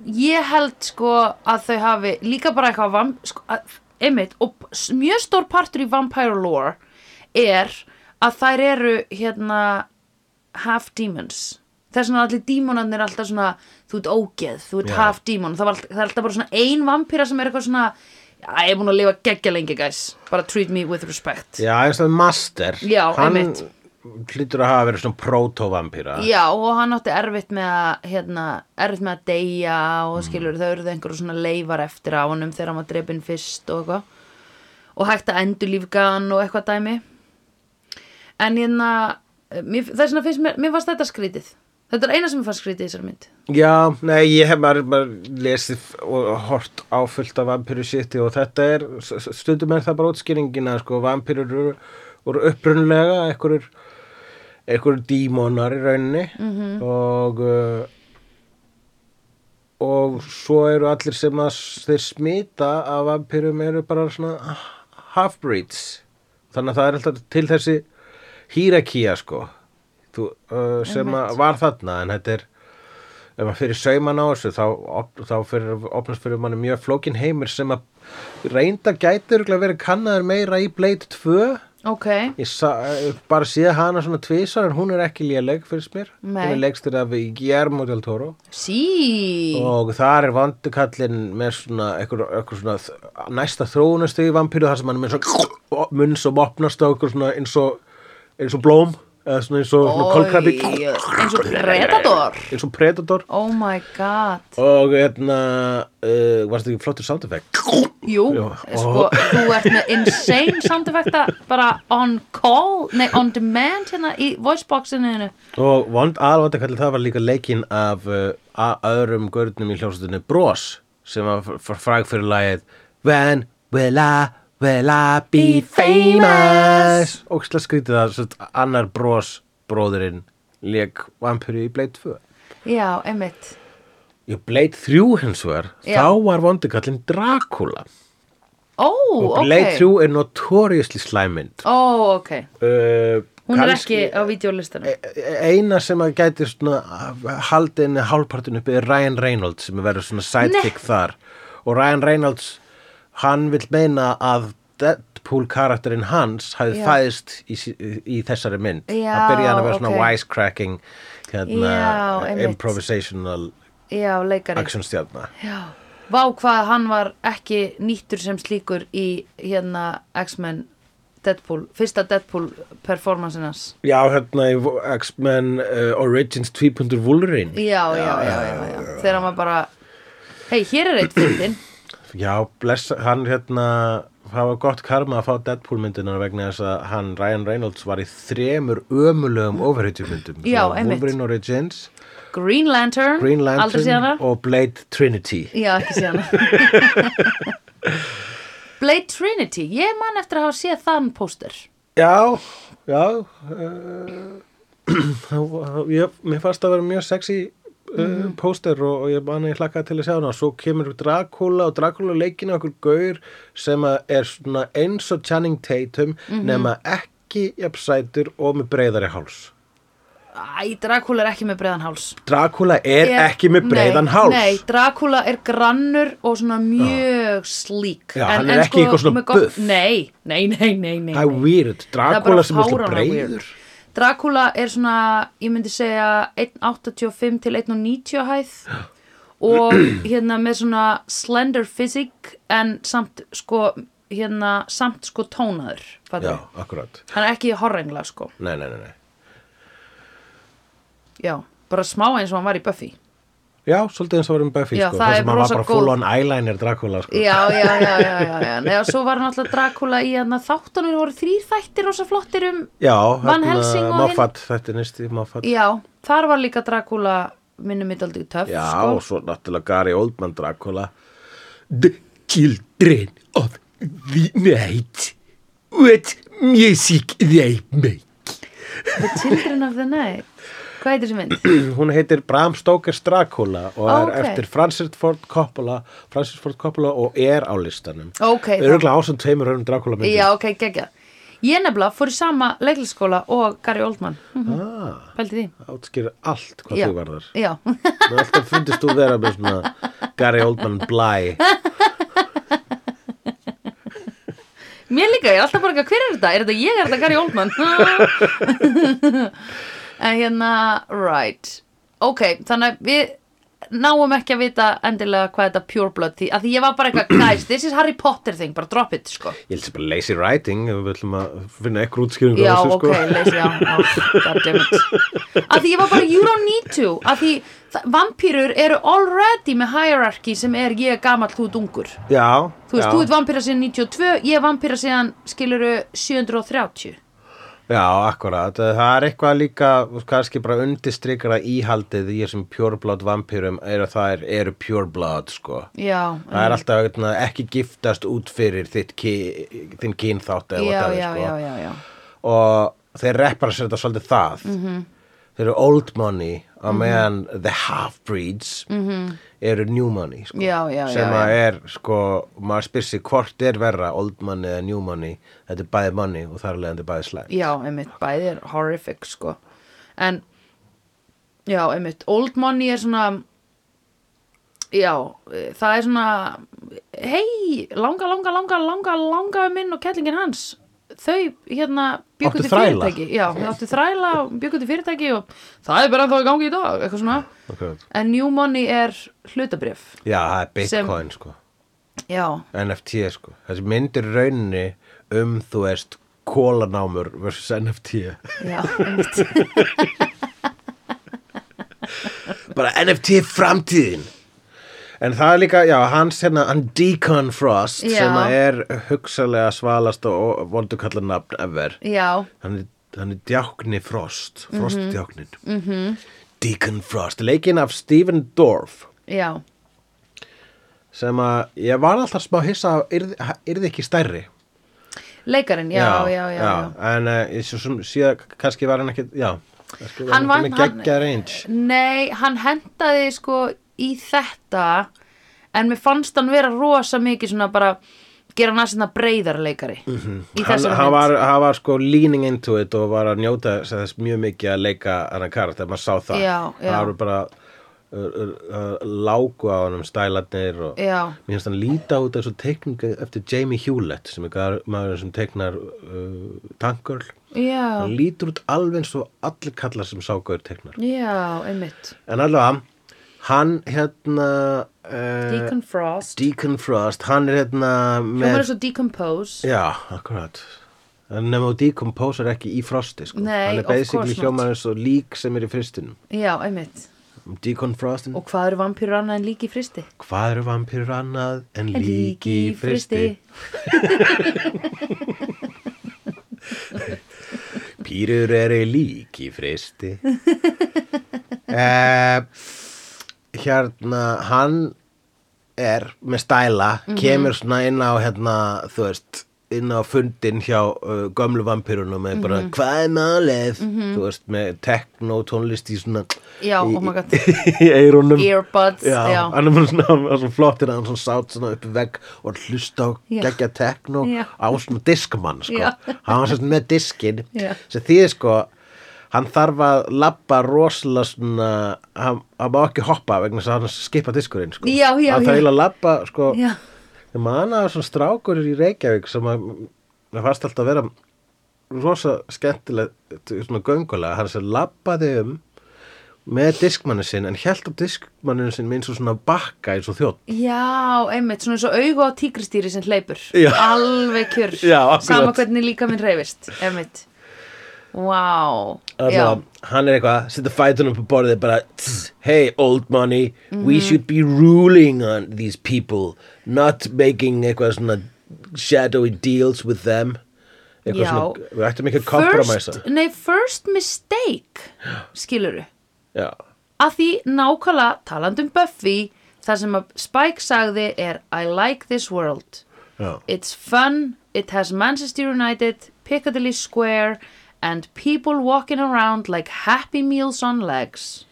Ég held sko að þau hafi líka bara eitthvað vam, sko, að, einmitt og s- mjög stór partur í Vampire lore er að þær eru hérna half demons þess vegna allir dímonarnir er alltaf svona þú ert ógeð, þú ert
Já.
half demon það, var, allt- það er alltaf bara svona ein vampýra sem er eitthvað svona já, ég er búin að lifa geggja lengi guys bara treat me with respect
já eins og Master
Já,
hann
einmitt.
hlýtur að hafa verið svona proto-vampíra
Já, og hann átti erfitt með að hérna, erfitt með að deyja
Mm.
og skilur þau eru þau einhverju svona leifar eftir á honum þegar hann var drepinn fyrst og eitthvað og hægt að endurlífga hann og eitthvað dæmi en hérna mér, þess vegna finnst mér, mér fannst þetta skrítið þetta er eina sem mér fannst skrítið í þessari mynd
Já, nei, ég hef maður, maður lesið og hort á fullt af vampíru sýtti og þetta er, s- s- stundum er það bara útskýringina, sko, vampírur eru- voru upprunlega einhverjur einhverjur dímonar í rauninni -hmm. og uh, og svo eru allir sem að s- þeir smita af vampirum eru bara svona half-breeds þannig að það er alltaf til þessi hýrakía sko Þú, uh, sem að var þarna en þetta er ef maður fyrir sauman á þessu þá, op- þá fyrir, opnast fyrir manni mjög flókin heimur sem að reynda gæti að vera kannaður meira í Blade 2
Ok,
ég sa, eh, bara séð hana svona tvisar en hún er ekki léleg fyrir mér
Nei.
hún er legstur af Guillermo del Toro
sí
og þar er vandukallin með svona eitthvað, eitthvað svona þ- næsta þróunastu í vampíru þar sem hann er með svona munn sem opnast á eitthvað svona eins og eins og blóm eða svona eins og svona kolkrabbi
Oj, eins og Predator
eins og predator
Oh my god
og hérna uh, varst ekki flottur sound effect
Jú,
Já.
sko, þú ert með insane sound effecta bara on call, nei, on demand hérna í voiceboxinu hennu.
og vond aðvandakallin það var líka leikinn af uh, a- öðrum görnum í hljómsveitinni Bros sem var fr- fr- fræg fyrir lagið When will I, will I
Be
be
famous?
famous og slá skrítið það svo, að annar Bros bróðurinn leik vampyri í Blade 2
Já, einmitt.
í Blade 3 hins vegar
Já.
þá var vondakallin Dracula
Ó,
og
ok.
Blade 3 er notoriously slæmynd
Ó, ok.
uh,
Hún
kannski-
er ekki á vídeolistanu.
e, eina sem að gæti svona haldinni hálfpartin uppi er Ryan Reynolds sem er verið svona sidekick þar og Ryan Reynolds hann vil meina að Deadpool karakterinn hans hafi
Já.
fæðist í, sí- í þessari mynd
Já,
að byrja hann að vera svona
ok.
wisecracking hérna,
Já, einmitt.
improvisational
Já, leikari.
actionstjarna
Já. Vá hvað hann var ekki nýttur sem slíkur í hérna X-Men Deadpool, fyrsta Deadpool performansin hans.
Já, hérna í X-Men uh, Origins 2.0 Wolverine
Já, já, já, já, já. Þegar hann var bara, hei, hér er eitt fyndin.
Já, bless, hann hérna það var gott karma að fá Deadpool myndina vegna þess að hann Ryan Reynolds var í þremur ömulegum overhættjumyndum
Já, einmitt.
Wolverine Origins,
Green Lantern,
Green
aldrei síðan
Lantern
það.
og Blade Trinity
Já, ekki <laughs> séð hana Blade Trinity, ég man eftir að hafa séð þann póster
Já, já uh, <clears throat> ég, Mér fannst það að vera mjög sexy uh,
Mhm.
póster og, og ég manna ég hlakkaði til að sjá hana og svo kemur Dracula og Dracula leikinu okkur gaur sem að er svona eins og Channing Tatum
Mhm.
nema ekki jafnsætur og með breyðari háls
Æ, Dracula er ekki með breiðan háls
Dracula er
Ég-
ekki með breiðan
nei,
háls
Nei, Dracula er grannur og svona mjög slík sko,
Já, hann er ekki eitthvað svona
með gott-
buff.
Nei, nei, nei, nei, nei,
Það er
nei. Það
weird,
er
Dracula
bara
sem er alltaf
fáránlega
breiður
weird. Dracula er svona, ég myndi segja 1.85 til 1.90
<clears throat>
hæð og hérna með svona slender physique en samt sko hérna samt sko tónaður
Já,
fattar.
akkurat
hann er ekki horrengla sko
Nei, nei, nei, nei
já, bara smá eins og hann var í Buffy
Já, svolítið eins og varum Buffy,
Já,
sko.
það
Það
er
sem hann var
rosa
bara
gólf.
full on eyeliner Dracula, sko.
Já, já, já, já, já, já. Nei, og svo var náttúrulega Dracula í hann að þáttanum voru þrýr þættir rosa flottir um
Já, hérna
Van Helsing og hinn.
Moffat, þetta er næsti Moffat.
Já, þar var líka Dracula minnum mitt aldrei töff
Já,
sko.
og svo náttúrulega Gary Oldman Dracula. The children of the night. What music they make.
The Children of the Night Hvað heitir þessi mynd?
Hún heitir Bram Stokers Dracula og
Ó,
er
ókei.
eftir Francis Ford Coppola, Francis Ford Coppola og er á listanum.
Ok, þá-
Örgulega ásand tveimur örum Dracula myndum.
Já, ok, geggja Ég nefnilega fór í sama leiklisskóla og Gary Oldman Hm,
Ah,
Pældi því
átskýr allt hvað
Já.
þú varðar.
Já,
Mér alltaf fundist þú vera með svona Gary Oldman blæ
mér líka, ég er alltaf bara ekki að hver er þetta? Er þetta ég, er þetta Gary Oldman? <laughs> en hérna, right Ok, þannig að við náum ekki að vita endilega hvað þetta Pure Blood því, að því ég var bara eitthvað, <clears throat> guys, this is Harry Potter thing, bara drop it, sko
Ég held sem bara lazy writing ef við ætlum að finna ekkur útskýringu
Já,
á þessu, sko.
ok, leysi, já, já, goddammit Að því ég var bara, you don't need to Að því þa- vampírur eru already með hierarchy sem er ég er gamall, þú ert ungur
<laughs> Já,
Þú veist,
já,
þú ert vampíra síðan 92, ég er vampíra síðan skiluru 730
já, akkurat Það er eitthvað líka, kannski bara undistrykara íhaldið í þessum pure blood vampýrum er að það eru pure blood, sko
Já,
Það er alltaf hérna, ekki giftast út fyrir þitt ki, þinn kynþátt
já,
eða
já,
whatever,
já,
sko.
já, já, já
og þeir representa svolítið það
Mhm.
-hmm. þeir eru old money á meðan the half-breeds -hmm. eru new money sko,
Mhm. Já, já, já,
sem
já.
að er sko, maður spyr sig hvort er verra old money eða new money þetta er bæði money og þar leðandi bæði slæm
Já, einmitt, bæði er horrific sko En Já, einmitt, old money er svona Já, eh, það er svona Hei, langa, langa, langa, langa, langa um minn og kettlingin hans Þau hérna byggu
Áttu
til
þræla?
fyrirtæki Já, þau áttu þræla og byggu til fyrirtæki og það er bara ennþá í gangi í dag, eitthvað svona
Akkurat.
En new money er hlutabrif
já, það er
Sem-
bitcoin sko
Já,
NFT sko, þessi myndir rauninni um þú veist kólanámur versus NFT
já, einmitt
bara NFT er framtíðin en það er líka, já, hans hérna hann Deacon Frost
Já.
sem að er hugsalega svalast og vondu kalla nafn ever
Já,
hann er, hann er djákni Frost
Mhm.
Frostdjáknin mm -hmm. Deacon Frost, leikinn af Stephen Dorff
já,
sem að ég var alltaf smá hissa að yrði, ha- yrði ekki stærri
leikarinn, já, já, já, já.
en uh, svo sem síðan kannski var hann ekki já, kannski var
Hann
hann ekki
var-
með
hann-
geggja range
Nei, hann hendaði sko í þetta en mér fannst hann vera rosa mikið svona bara gera hann að sinna breyðarleikari mm -hmm. í
Mhm. hann,
þessari
hann,
mynd.
var, hann var sko leaning into it og var að njóta þess- þess mjög mikið að leika hann að karat maður sá það
Já, já.
hann var bara uh, uh, uh, lágu á honum stælarnir og
Já,
mér finnst hann líta út þessu teikningu eftir Jamie Hewlett sem er gar- maðurinn sem teiknar uh, tankgirl
já,
hann lítur út alveg eins og allir kallar sem ságaur teiknar
já, einmitt
en allavega hann hérna uh,
Deacon Frost
Deacon Frost hann er hérna
Hún var
með
svo decompose
Já, akkurat En nema þú decompose er ekki í frosti sko.
Nei,
Hann er
of
basically
course not.
hljómar eins og lík sem er í fristinum
Já, einmitt
Deconfrostin
Og hvað eru vampýrur annað en líki fristi?
Hvað eru vampýrur annað en lík í fristi? Pýrur eru lík í
<laughs>
fristi eh, Hérna, hann er með stæla
Mhm.
kemur svona inn á hérna, þú veist, inn á fundin hjá uh, gömlu vampýrunum með
Mhm.
bara hvað er málið þú veist, með techno tónlist í svona
Já,
í,
oh my god.
<laughs> í eirunum
Earbuds, já.
hann er bara svona, hann var svona flottir að hann svona sátt svona upp í vegg og hlusta á
Já.
geggja techno
Já.
á svona diskmann sko.
Já.
hann var sérst með diskin
Já.
sem því sko hann þarf að labba rosalega svona hann, hann má ekki hoppa vegna þess að hann skipa diskurinn sko.
Já, já,
hann
já.
þarf eiginlega að labba sko,
Já,
ég man að svona strákur í Reykjavík sem að mér fannst alltaf að vera rosa skemmtilega svona göngulega, hann sem labbaði um með diskmannu sinn en held á diskmannu sinn með eins og svona bakka eins og þjótt
já, einmitt Svona eins og augu á tígristýri sem hleypur
Já.
Alveg kjör
Já, akkurat.
Sama hvernig líka minn reyfist Einmitt Vá, já, Mm.
Alla, hann er eitthvað, setja fætunum upp á borðið bara, tss, hey old money
Mhm.
we should be ruling on these people not making eitthvað svona shadowy deals with them eitthvað
Já.
svona, við ættum ekki að kompromisa
first, nei, first mistake skiluru,
já,
að því nákvæmlega talandi um Buffy það sem að Spike sagði er I like this world
já,
It's fun, it has Manchester United, Piccadilly Square and people walking around like happy meals on legs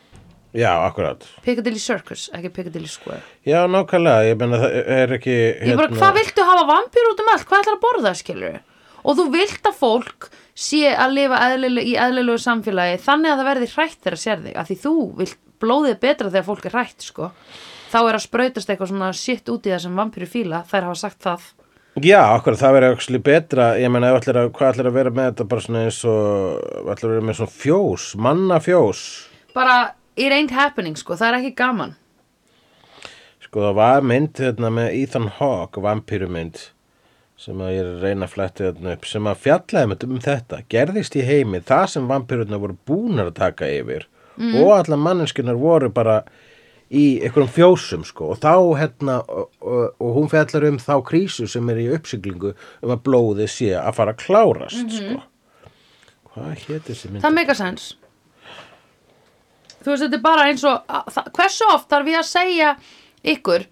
já, akkurat
Piccadilly Circus, ekki Piccadilly Square
já, nákvæmlega, ég menna það er ekki
Ég
Hérna.
bara, hvað viltu hafa vampýr út um allt? Hvað ætlar að borða, skilur Og þú vilt að fólk sé að lifa eðlileg, í eðlilegu samfélagi þannig að það verði hrætt þegar það sér þig af því þú vilt blóðið er betra þegar fólk er hrætt, sko Þá er að sprautast eitthvað svona sitt út í það sem vampýru fíla, þær hafa sagt það
já, akkurat, það verið auksli betra ég menna, ætlar að, hvað ætlar að vera með þetta bara svona eins og, ætlar að vera með svona fjós mannafjós
Bara, it ain't happening, sko, það er ekki gaman
Sko það var mynd hérna með Ethan Hawke, vampýrumynd sem að ég er að reyna að flætti hérna upp sem að fjallaði með um þetta gerðist í heimi það sem vampýruna voru búnar að taka yfir og allar manninskinnar voru bara í einhverjum fjósum sko og þá hérna og, og, og hún fjallar um þá krísu sem er í uppsiglingu um að blóðið sé að fara að klárast sko Hvað hétt þessi mynd?
Það meika sens Þú veist, þetta er bara eins og að- það- hversu oft þarf ég að segja ykkur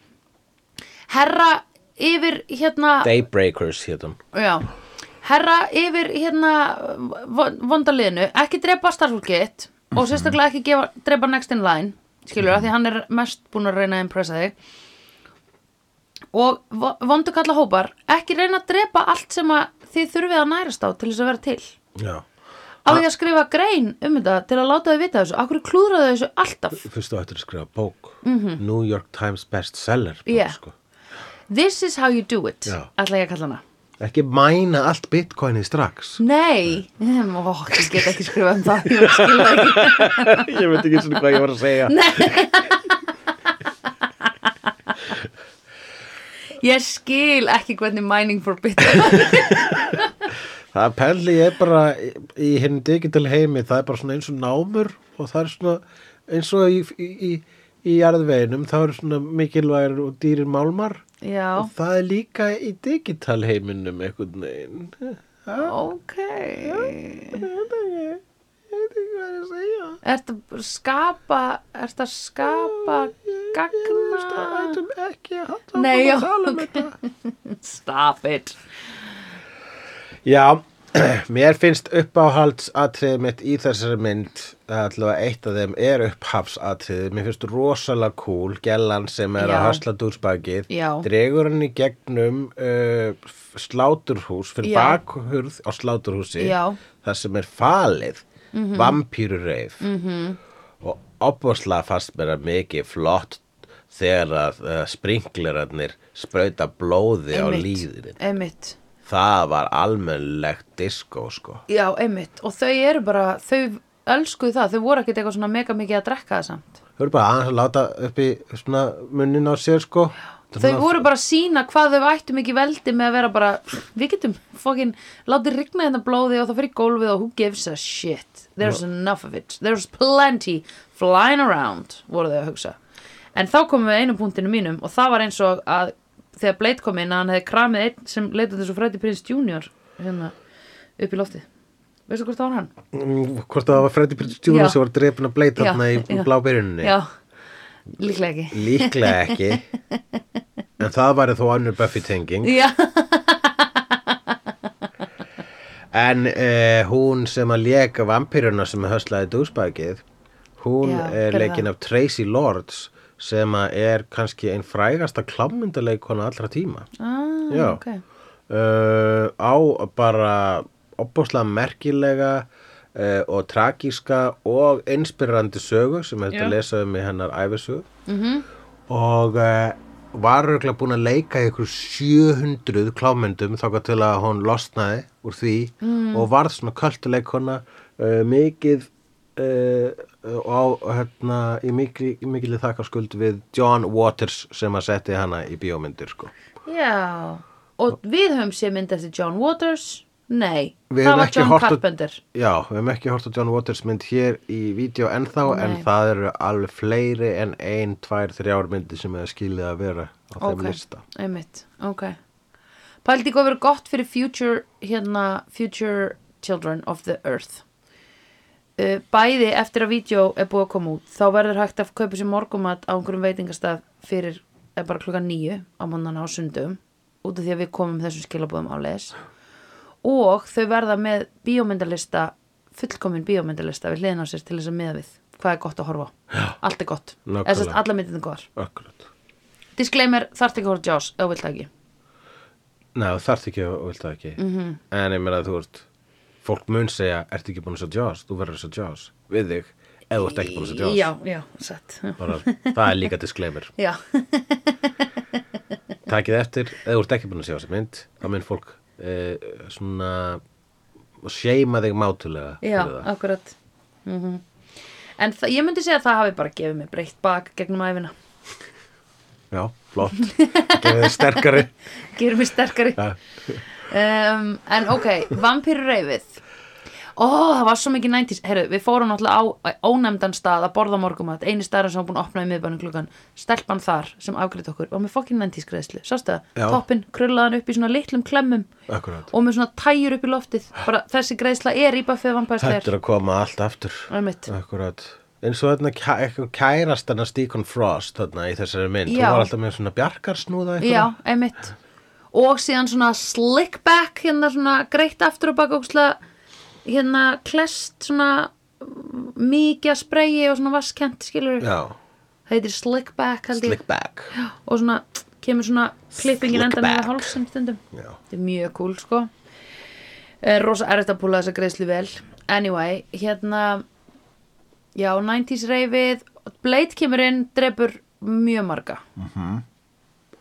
herra yfir hérna
Daybreakers hétt hún
já, herra yfir hérna von- vondaliðinu, ekki drepa starfsfólkið og sérstaklega ekki gefa, drepa next in line skilur það, því hann er mest búin að reyna að impressa þig og vo- vondu kalla hópar ekki reyna að drepa allt sem að þið þurfið að nærast á til þess að vera til
Já,
á því að skrifa grein um þetta til að láta þau vita þessu, akkur klúðraðu þessu alltaf
fyrst og eftir að skrifa bók New York Times bestseller bók,
Mhm. Yeah.
sko.
this is how you do it,
Já.
ætla ég að kalla hana
ekki mæna allt bitcoinið
<laughs>
strax <laughs>
nei, <laughs> Em, ó, ég get ekki skrifa um það ég skil það ekki
ég veit ekki svona hvað ég var að segja
ég skil ekki hvernig mining for bitcoin
það pelli ég bara í, í hinn digital heimi það er bara svona eins og námur og það er svona eins og í, í, í, í jarðveginum það eru svona mikilvægir og dýrir málmar
já,
og það er líka í digital heiminum einhvern veginn
Eh.
<laughs>
ok
ég veit ekki hvað ég er að segja
ertu að skapa ertu að skapa gagna
ættum ekki að halda
Nei, já,
áfram um þetta
stop it
Já, <clears throat> mér finnst uppáhaldsatriðið mitt í þessari mynd allavega eitt af þeim er upphafsatriðið mér finnst rosalega cool gellan sem er
Já.
að hasla dúsbakið
Já.
dregur hann í gegnum uh, f- sláturhús fyrir
Já.
bakhurð á sláturhúsi
Já. Mhm.
þar sem er falið mm -hmm. vampýrureif mm -hmm. og opaslega fast mér að mikið flott þegar að uh, sprinklerarnir sprauta blóði á líðurinn
einmitt
Það var almennlegt diskó sko.
Já, einmitt, og þau eru bara, þau elskuðu það, þau voru ekkert eitthvað svona mega mikið að drekka það samt.
Þau eru bara aðeins að láta upp í svona munnin á sér sko. Þetta er
Þau
svona-
voru bara að sína hvað þau ættu mikið veldi með að vera bara, við getum fokkin, látið rigna hérna blóði og það fyrir gólfið og who gives a shit. There's enough of it. There's plenty flying around, voru þau að hugsa. En þá komum við að einu punktinu mínum og það var eins og að þegar Blade kom inn að hann hefði kramið einn sem leitað þessu fræti prins junior hérna upp í loftið. Veistu hvort það var hann?
Mm, Hvort það var Freddy Prinze Jr.
Já.
sem var drefin að bleita
Já,
þarna
já.
í blábyrjunni
Já, líklega ekki.
Líklega ekki
<laughs>
En það væri þó annur Buffy tenging
Já,
En uh, hún sem að léka vampýruna sem höslaði dúsbækið Hún
Já, hver
er
er
leikin
það?
af Tracy Lords sem að er kannski ein frægasta klámyndaleikona allra tíma
ah,
Já.
ok
uh, á bara opbóðslega merkilega uh, og tragíska og inspirandi sögu sem er hægt
Já. Mhm.
að lesa um í hennar æfisögu -hmm. og uh, var örgulega búin að leika í ykkur 700 klámyndum þáka til að hún losnaði úr því
Mm.
og varð svona költuleikona uh, mikið Uh, og á, hérna, í mikil, mikil þakkarskuld við John Waters sem að setti hana í bíómyndir sko.
Já, og við höfum séð mynd eftir John Waters Nei,
Við
það
höfum
var
ekki
John
hort á-
Carpenter
Já, við hefum ekki hort á John Waters mynd hér í vídeo ennþá en
Nei.
það eru alveg fleiri en ein, tvær, þrjár myndi sem hefur skilið að vera á
Ok,
þeim lista.
einmitt, ok Pældi hvað verið gott fyrir future hérna, future children of the earth Uh, Bæði eftir að vídeo er búið að koma út þá verður hægt að kaupa sér morgumat á einhverjum veitingastað fyrir eh, bara klukkan nýju á mannana á sundum út af því að við komum þessum skilabóðum á les og þau verða með bíómyndalista fullkomin bíómyndalista við hliðin á sér til þess að miða við hvað er gott að horfa á, allt er gott
nákvæmlega.
Eða sem sagt, allar myndin góðar
Akkurat.
Disclaimer, þarft ekki að horfa á Jaws, eða þú vilt það ekki.
Nei, þú þarft ekki og vilt það ekki. -hmm.
Mhm.
En ég meina að þú ert, fólk mun segja, ertu ekki búin að sjá Jaws? Þú verður að sjá Jaws við þig eða þú ert ekki búin að sjá Jaws.
Já, já, satt. já.
Bara, það er líka
<laughs>
disclaimer.
Já,
Takið eftir, eða þú ert ekki búin að sjá þessa mynd, þá mun fólk eh, svona seima þig mátulega.
já,
fyrir það.
akkurat. Mm En það- ég myndi segja að það hafi bara gefið mér breytt bak gegnum æfina.
Já, flott. Gefið þig sterkari.
<laughs> Gerir mér sterkari.
Já.
Um, en ok, vampýrreifið. Ó, það var svo mikið 90s. Herru, við fórum náttúrulega á ónefndan stað að borða morgumat. Einu staðar sem var búin að opna í miðbænum klukkan. Stelpan þar sem afgriðt okkur og með fokkin 90s greiðslu. Sástu það?
Já.
Toppin krullaðan upp í svona litlum klemmum
Akkurat.
og með svona tæjur upp í loftið. Bara þessi greiðsla er í buffið vampæðsleir.
Þetta er að koma allt aftur.
Einmitt.
Akkurat. eins og þarna kæ- eitthvað kærast hana Stíkon Frost þarna í þessari mynd.
Já.
Hún var alltaf með svona bjarkarsnúða eitthvað.
Já, einmitt Og síðan svona slick back hérna svona greitt aftur og baka ókslega hérna klest svona mm, mikið að spreyi og svona vaskent skilur
Já.
það heitir slick back held ég
Slick back.
og svona kemur svona klippingin
Slick
endan
back.
með hálsum stundum
Já.
þetta er mjög cool sko Eh, rosa erfitt að púla þessa greiðslu vel anyway, hérna já, 90s reyfið Blade kemur inn, drepur mjög marga
Mhm.
-hmm.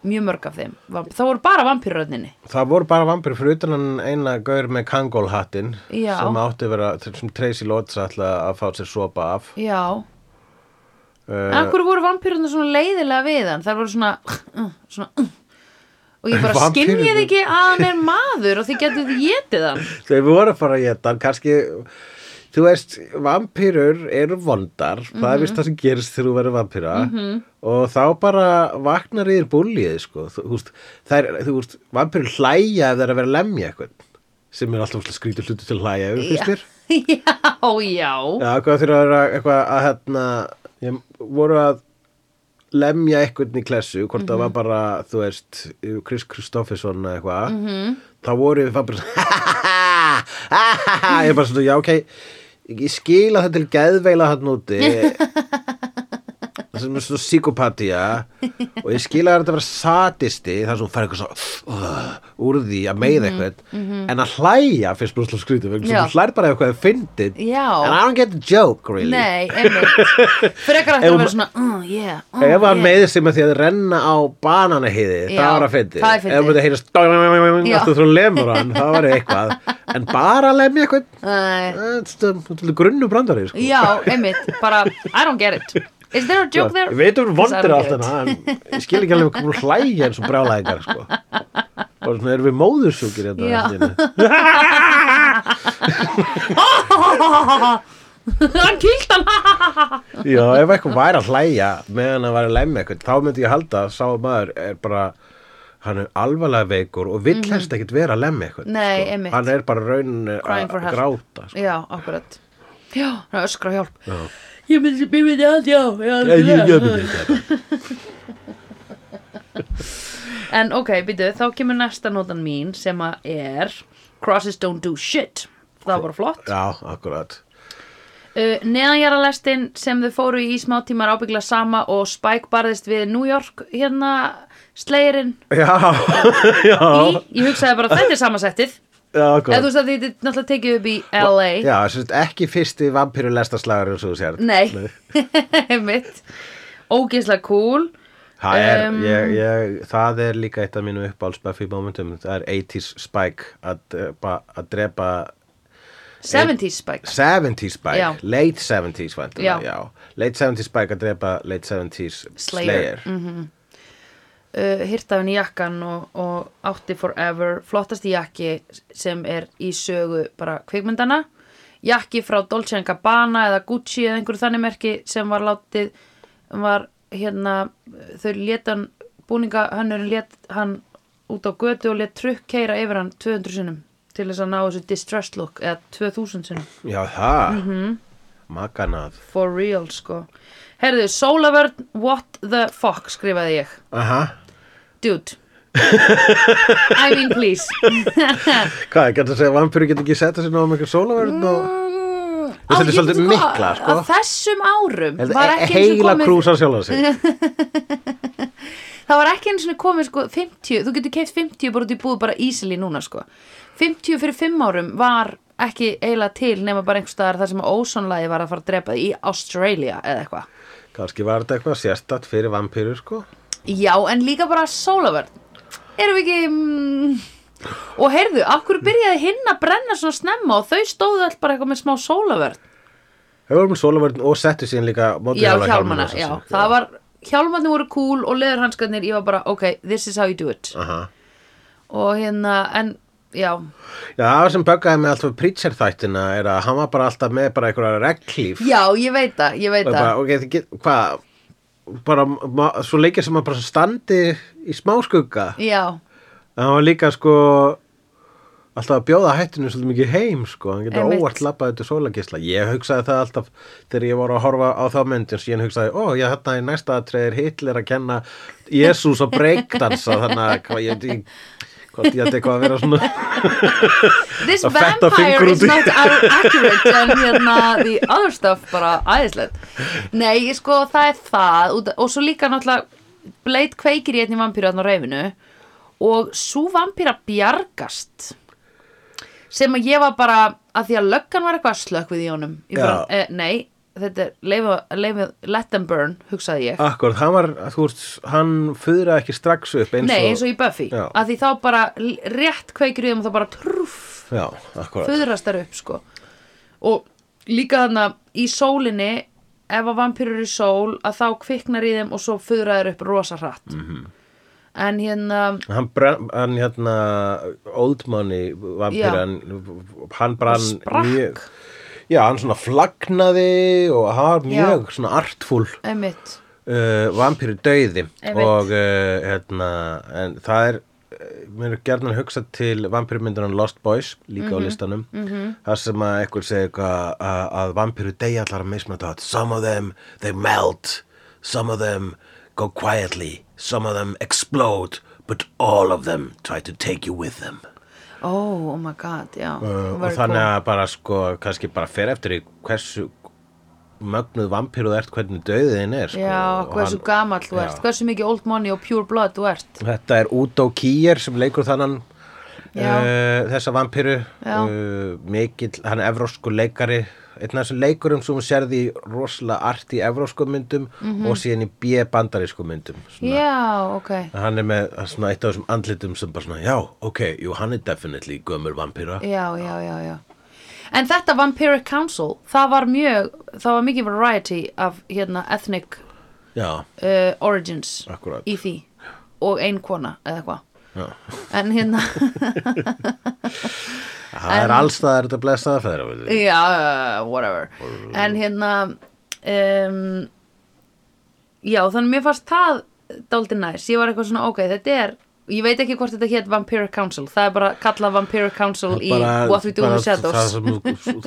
mjög mörg af þeim Vamp- það voru bara vampýröðninni
Það voru bara vampir fyrir utan hann eina gaur með kangólhattinn
Já.
sem átti að vera, sem Tracy Lotz ætlaði að fá sér sopa af.
já, en
Uh,
akkur Eh, voru vampýröðnir svona leiðilega við hann þar voru svona, uh, svona og ég bara
Vampírurnar.
skinnið ekki að hann er maður og þið getur þið getið hann <laughs>
þau voru að fara að geta hann, kannski, þú veist, vampirur eru vondar, það er vist það sem gerist þegar þú verður vampira og þá bara vaknar yfir búlið, sko, þú veist, þær, þú veist, vampirur hlæja ef það er að vera að lemja eitthvað sem er alltaf skrítið hlutu til að hlæja, ef þú finnst þér?
já, já,
Já, hvað þurfa að vera eitthvað að hérna, ég, voru að lemja eitthvað í klessu, hvort
Mhm.
það var bara, þú veist, Chris Kristofferson eða eitthvað,
Mhm.
þá voru við bara, <laughs> ég er bara svona, já, ok, ég skila þetta til geðveila hann úti,
<laughs>
sem er svona psykopatía, og ég skila þetta að vera satisti, þar sem hún fær eitthvað svo, uh, úr því að meið eitthvað, en að hlæja fyrst brúslega skrýtum, vegna þess
Mhm, Já.
að hún hlær bara ef eitthvað er fyndið,
Já.
And I don't get the joke, really.
Nei,
<laughs>
einmitt Frekar ætti
Ef
að
hún-
vera svona uh, yeah, uh,
Ef hann
yeah.
meðið sem að því að renna á bananahiði,
Já,
það var að fyndi.
það er fyndið.
Ef hann myndi að heyrast
Já.
alltaf þú lemur hann, það var eitthvað. En bara að lemja eitthvað,
Nei.
þetta er svolítið grunnu brandari, sko.
Já, einmitt, bara I don't get it Is there a joke there?
Við veitum
Because I
um vondir
don't
allt
get it.
hana, en ég skil ekki alveg hvað hún hlægja eins og brjálæðingar,
<laughs>
sko. Bara svona erum við móðursjúkir hérna.
Já.
allt í einu.
<laughs> Hann kýlt hann ha, ha, ha, ha.
Já, ef eitthvað væri að hlæja meðan að væri að lemja eitthvað, þá myndi ég halda að sá maður er bara, hann er alvarlega veikur og vill helst ekkit vera að lemja eitthvað.
Nei,
sko.
einmitt.
Hann er bara raunin
Crying for
að
help.
gráta. Sko.
Já, akkurat Já, hann er öskra hjálp já. Ég myndi, ég myndi að, já, já,
Ég, ég, ég, myndi þetta.
En ok, býtu, þá kemur næsta nótan mín sem að er Crosses don't do shit Það var flott
Já, akkurat.
Uh, neðanjaralestin sem þau fóru í í smá tímar ábyggla sama og Spike barðist við New York hérna slegirinn
Já, <laughs> já,
í, ég hugsaði bara þetta er samasettið
já,
eða þú
akkurat.
veist að þið er náttúrulega tekið upp í LA
Sko- Já, sem sagt, ekki fyrsti vampiru lestaslagur eins og þú sér.
<laughs> nei, mitt ógeðslega cool
Það er,
Um,
ég, ég, það er líka eitt af mínu uppáhalds Buffy momentum, það er 80s Spike að, drepa- að drepa
70s Spike
70s bæk,
Já.
late 70s væntanlega,
Já.
já. late 70s bæk að drepa late 70s
Slayer.
Slayer,
Mhm. uh, hirtaðin í jakkan og, og átti forever flottasti jakki sem er í sögu bara kvikmyndana jakki frá Dolce Gabbana eða Gucci eða einhverju þannig merki sem var látið var hérna þau létan búninga hönnurinn lét hann út á götu og lét trukk keira yfir hann 200 sinnum til þess að ná þessu distressed look eða 2000 sinnum
Já, það. Mm
Mhm.
-hmm. Maganað.
for real sko herðu, Sólavörn, what the fuck skrifaði ég
Aha.
dude <laughs> I mean please
Hvað, ég gæti að segja að vampyru getur ekki setta sér náðum einhver sólaverð
Mm,
og...
Á,
þetta er
ég
svolítið
veit hvað,
mikla, sko.
á þessum árum
Þetta
var
er
ekki eins og
Heila
komið
krúsa sjálf að
<laughs>
sig.
það var ekki eins og komið sko 50, þú getur keift 50 bara út í búð bara easily núna sko 50 fyrir 5 árum var ekki eiginlega til nema bara einhver staðar þar sem ósonlægi var að fara að drepa þig í Australia eða eitthvað
Kanski var þetta eitthvað sérstætt fyrir vampyru, sko.
Já, en líka bara sólavörn Erum við ekki mm, Og heyrðu, af hverju byrjaði hinn að brenna svona snemma og þau stóðu all bara eitthvað með smá sólavörn
Þau vorum sólaverðin og settu síðan líka
Já,
mótorhjóla-
hjálmana,
hjálmana,
já,
sem-
það var Hjálmarnir voru cool og leðurhanskarnir Ég var bara, ok, this is how you do it
Aha.
Og hérna, en, já
Já, það sem böggaði með alltaf Preacher þættina er að hann var bara alltaf með bara einhverja reglíf
Já, ég veit það, ég veit
og bara,
það
ok, þið get, hvað bara, ma- svo leikir sem að bara standi í smáskugga
Já,
en hann var líka, sko alltaf að bjóða hættinu svolítið mikið heim, sko, hann getur
Einmitt.
óvart labbað þetta sólagisla, ég hugsaði það alltaf þegar ég var að horfa á þá myndin síðan hugsaði, ó, ég þarna í næsta aðtreyðir Hitler að kenna Jésús að breakdansa, þannig að hvað ég veit ég- hvort ég ætti eitthvað að vera svona <laughs>
this
Að fetta
vampire
fingur
is
út í-
not ar- accurate en hérna the other stuff bara æðislegt nei, ég sko, það er það út- og svo líka náttúrulega Blade kveikir í einni vampíru þarna á reyfinu og svo vampíra bjargast sem að ég var bara að því að löggan var eitthvað slökk við í honum Ég bara,
Já.
eh, nei, þetta er leifu, leifu, let them burn, hugsaði ég
Akkurat, hann var, þú veist, hann föðraði ekki strax upp eins og...
nei, eins og í Buffy
Já.
að því þá bara l- rétt kveikir í þeim og þá bara trúff
Já, akkurat.
föðrast þær upp sko og líka þannig að í sólinni ef að vampýrur í sól að þá kviknar í þeim og svo föðra þær upp rosa hratt -hmm.
Mhm.
en hérna
Hann, brann, hann hérna, Old Money vampirinn, hann brann
Og sprakk.
mjög... Já, hann svona flagnaði og hann var mjög svona artful
einmitt
uh, vampíru döiði
Einmitt.
og uh, hérna, en það er eh, mér er gerðan að hugsa til vampýrumyndunan Lost Boys, líka
Mhm,
á listanum -hmm. þar sem að einhver segir eitthvað að, að vampýru deyja allar að mismunata some of them, they melt some of them go quietly some of them explode but all of them try to take you with them
oh, oh my god, já
uh, og
Very cool.
þannig að bara sko kannski bara fer eftir í hversu mögnuð vampíru þú ert hvernig döiðin er sko,
já,
og
hversu
hann-
gamall þú
Já.
ert hversu mikið old money og pure blood þú ert
Þetta er Udo Kier sem leikur þannan
Já.
uh, þessa vampíru
Já.
uh, mikill, hann er evrósku leikari einn af þessum leikurum sem hún sérði í rosalega art í evrósku myndum
Mhm.
og síðan í B-bandarísku myndum svona.
já, ok
hann er með svona, eitt af þessum andlitum sem bara svona, já, ok, jú, hann er definitely gömur vampíra
já, já, já, já en þetta Vampiric Council það var mjög, það var mikið variety af hérna ethnic
já,
uh, origins
Akkúrat.
í því og ein kona eða eitthvað
já,
en hérna,
það er allstaðar þetta blessaða fæðra við
já, whatever en hérna um, já, þannig mér fannst það dálítið næs, ég var eitthvað svona ok, þetta er ég veit ekki hvort þetta hétt Vampiric Council það er bara kallað Vampiric Council í What We Do in the
það
Shadows
sem,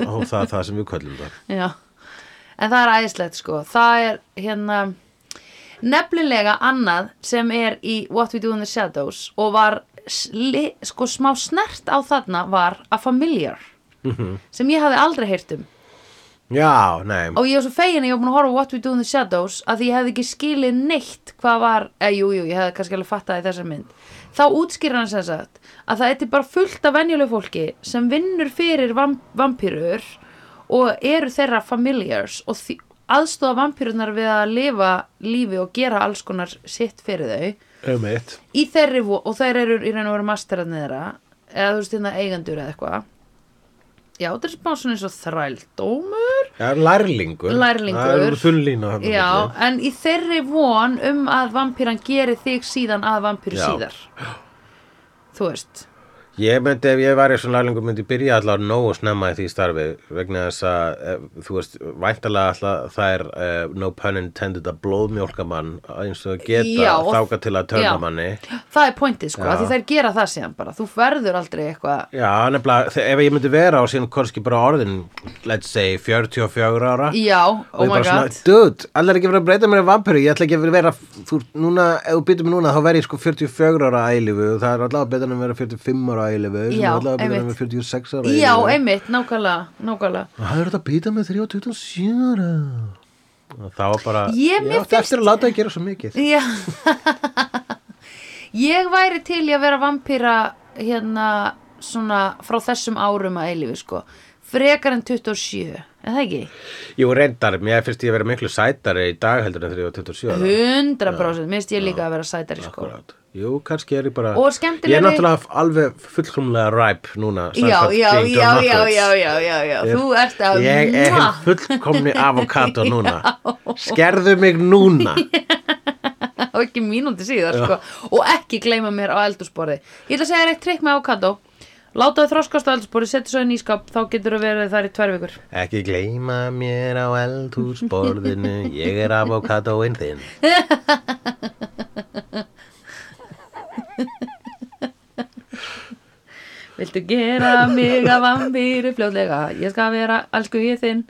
<laughs>
það, það, það sem við köllum það
Já, en það er æðislegt sko. Það er hérna nefnilega annað sem er í What We Do in the Shadows og var sli, sko smá snert á þarna var A Familiar sem ég hafði aldrei heyrt um
já, nei,
og ég var svo fegin að ég var búin að horfa á What We Do in the Shadows að því ég hefði ekki skilið neitt hvað var, eða jú, jú, ég hefði kannski alveg fattað í þessar mynd þá útskýr hann sem sagt að það er bara fullt af venjulegu fólki sem vinnur fyrir vamp vampýrur og eru þeirra familiars og því- aðstoða vampýrunar við að lifa lífi og gera alls konar sitt fyrir þau
um eitt
í þeirri vo- og þær eru í raun og veru masterarnir þeirra eða þú veist hérna eigendur eða eitthvað já, þetta er bara svona eins og þrældómur
Já, lærlingur.
Lærlingur.
Það eru þullína hann.
Já, en í þeirri von um að vampýran geri þig síðan að vampýru
Já.
síðar Þú veist
Ég myndi, ef ég væri svona lærlingur, myndi byrja allavega nógu snemma í því starfi vegna þess að, eh, þú veist, væntalega alltaf það er, uh, no pun intended, að blóðmjólka mann eins og geta
Já, og-
þáka til að törna
já.
manni.
Það er pointið sko,
Já.
af því þær gera það síðan bara Þú verður aldrei eitthvað
Já, nefnilega, þe- ef ég myndi vera á síðan korski bara orðin, let's say, 44 ára.
Já,
og
oh
ég
my
bara svona,
god
dude, allir ekki verið að breyta mér í vampiru, ég ætla ekki að vera þú, ert núna, ef þú byttir mér núna, þá verð ég sko 44 ára að eilifu og það er allavega betur en að vera 45 ára að eilifu sem
Já,
er allavega betur en að
einmitt.
vera 46 ára að
Já,
eilífu.
einmitt, nákvæmlega, nákvæmlega
og það er þetta að býta með 327 ára og það var bara
Ég- mér
átti eftir að láta það gera svo mikið
Já <laughs> Ég væri til í að vera vampýra hérna svona frá þessum árum að eilífi sko Frekar en 27, er það ekki?
Jú, reyndar, mér finnst ég að vera miklu sætari í dag heldur en 327 ára
100% Mér finnst ég líka að vera sætari sko
Akkúrat. Jú, kannski er ég bara
Og
Ég er
skemmtilegri-
náttúrulega alveg fullkomlega ræp núna
já,
samkvæmt
já,
Jane John
já, já,
Malkovich.
já, já, já, já,
Ég-
þú ert að
Ég er
Mwah!
hinn
<laughs>
fullkomni avokado núna Skerðu mig
<laughs>
núna
og ekki mínúti síðar sko. og ekki gleyma mér á eldursporði ég ætla að segja þér eitt trikk með avokado láta þau þroskast á eldursporði, setja svo í nýskap þá getur þau verið þar í tvær vikur
Ekki gleyma mér á eldhúsborðinu Ég er avokadoinn þinn
viltu gera mig að vampýru fljóðlega ég skal vera elsku ég þinn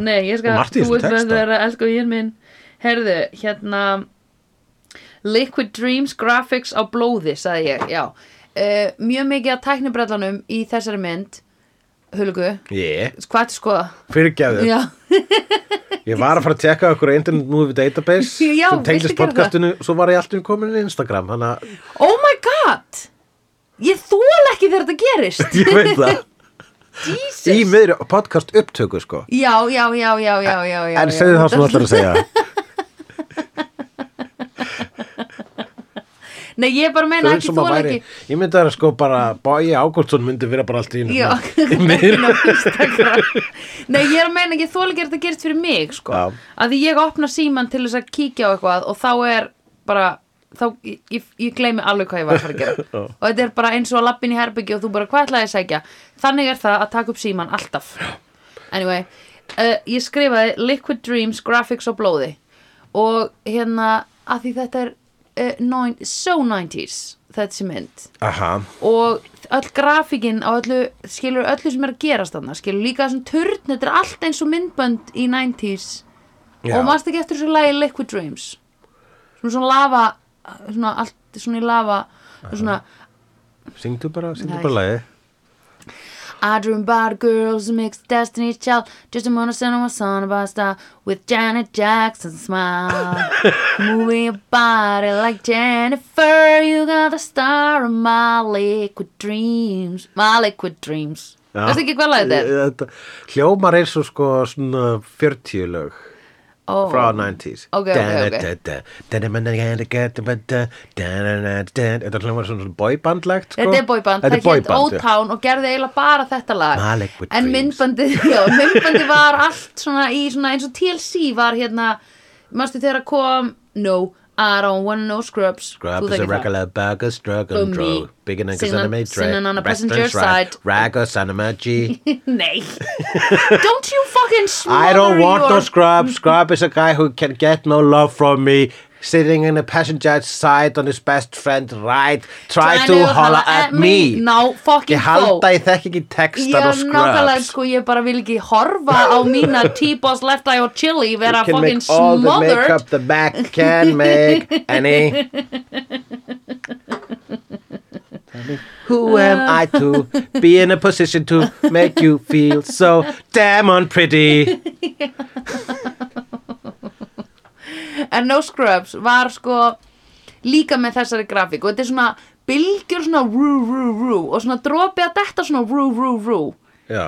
nei, ég skal,
Margt í þessum
ert
texta.
verið að vera elsku ég minn herðu, hérna Liquid Dreams Graphics á blóði, sagði ég, já uh, mjög mikið að tæknibrellanum í þessari mynd Hulgu,
Ég,
hvað ertu að skoða?
fyrirgefðu
Já,
Ég var að fara að tekka okkur á Internet Movie Database
<laughs> Já,
sem tengdist
viltu gera
podcastinu Svo var ég alltaf komin í Instagram Þannig að
oh my god Ég þól ekki þegar þetta
<laughs>
gerist
ég veit
<laughs>
það
Jesus
Í miðri podcast upptöku sko
Já, já, já, já, já, já, já
En
já.
segðu það sem þú ætlar að
<laughs>
segja
Nei, ég bara
Það
meina
er
ekki
sem að
þól
væri-
ekki
Ég myndi að sko bara Bói Ágústsson myndi vera bara alltaf í einu
Já,
svona Í miðri
<laughs> Inn á Instagram. Nei, ég er að meina ekki þól ekki þegar þetta gerist fyrir mig sko.
Já.
Að því ég opna síman til þess að kíkja á eitthvað og þá er bara þá, ég, ég- ég gleymi alveg hvað ég var að fara að gera og þetta er bara eins og að lappin í herbyggju og þú bara hvað ætlaði að segja þannig er það að taka upp síman alltaf anyway, uh, ég skrifaði Liquid Dreams, Graphics og Blóði og hérna að því þetta er uh, nine, so 90s þessi mynd
Aha,
og öll grafíkin á öllu, skilur öllu sem er að gerast þannig, skilur líka þessum turn þetta er allt eins og myndbönd í 90s
Já.
og mannst ekki eftir þessu lagi Liquid Dreams svona svona lava svona allt svona í lava svona
syngdu bara, syngdu
Nei.
bara lagi
I dream about a girl who's a mixed destiny's child Just a mono cinema song about style With Janet Jackson's smile Moving your body like Jennifer You got the star of my liquid dreams My liquid dreams
Já.
Veistu ekki hvað lagið þetta er?
Ég- þetta- Hljómar eins og sko svona 40 lög
Oh.
frá 90s
Ok, ok, ok.
Þetta hljómar svona svona boybandlegt sko.
Þetta er boyband,
Þetta er
það hétt
boyband, já.
O-Town og gerði eiginlega bara þetta lag
My Liquid
En
Dreams.
myndbandið, <laughs> já, myndbandið var allt svona í svona eins og TLC var hérna Manstu þegar að kom No, I don't want no scrubs
Grab
Þú
is a
þekkir það.
regular burger, struggle and
For me.
draw. Big and
Sitting on-
anime tray.
sitting on a passenger
restaurant,
side.
Rag or cinema G.
<laughs> Nei Don't you fucking smother
<laughs> I don't want
your...
no scrub. Scrub is a guy who can get no love from me. Sitting in a passenger side on his best friend right. Try to holler at me.
No fucking
Ég held
go
að ég þekk ekki
Ég
textan og
er nákvæmlega
scrubs
sko Ég bara vil ekki horfa á mína T-Boss Left Eye og Chili vera
Can
fucking
make all the
smothered
makeup the back can make <laughs> any Who am I to be in a position to make you feel <laughs> so damn unpretty
En No Scrubs var sko Líka með þessari grafík Og þetta er svona bylgjur svona rú rú rú Og svona dropi að detta svona rú rú rú
Já,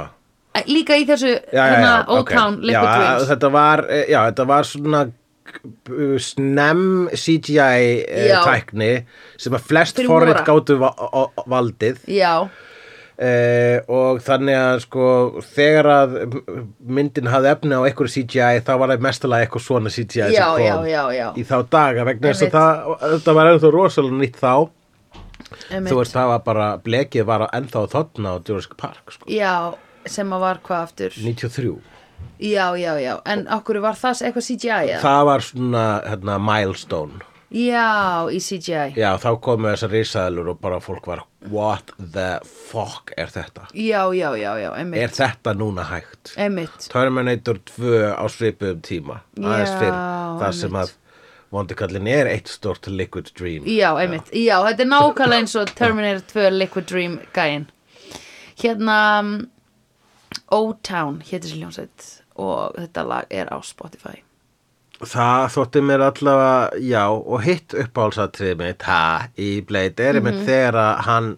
Líka í þessu
já, já, já
hérna, Old Town
já,
Liquid Dreams
þetta var, eh, já, þetta var svona uh, snem CGI eh,
Já.
tækni sem að flest
Fyrir
forrið
voru.
gátu va o- o- valdið
Já,
Uh, og þannig að sko þegar að m- myndin hafði efni á einhverju CGI þá var það mestalega eitthvað svona CGI sem
Já,
kom
já, já, já.
í þá daga vegna þess að
Einmitt.
það, þetta var ennþá rosalega nýtt þá
Einmitt.
þú veist það var bara blekið var ennþá þarna á Jurassic Park sko,
Já, sem að var hvað aftur
93
Já, já, já, en okkur var það eitthvað CGI eða?
það var svona hérna, milestone
Já, í CGI Já,
já þá komu þessar risaðlur og bara fólk var what the fuck er þetta
já, já, já, einmitt
er þetta núna hægt
Einmitt,
Terminator 2 á svipuðum tíma aðeins
Já,
fyrr, það sem að
einmitt.
vondikallin er eitt stort liquid dream
já, einmitt Já, þetta er nákvæmlega eins og Terminator 2 Liquid Dream gæin Hérna mm, O-Town, hétir sér hljómsveit og þetta lag er á Spotify
það þótti mér allavega já og hitt uppáhalsatriði mitt ha, í Blade er
Mhm.
einmitt þegar að hann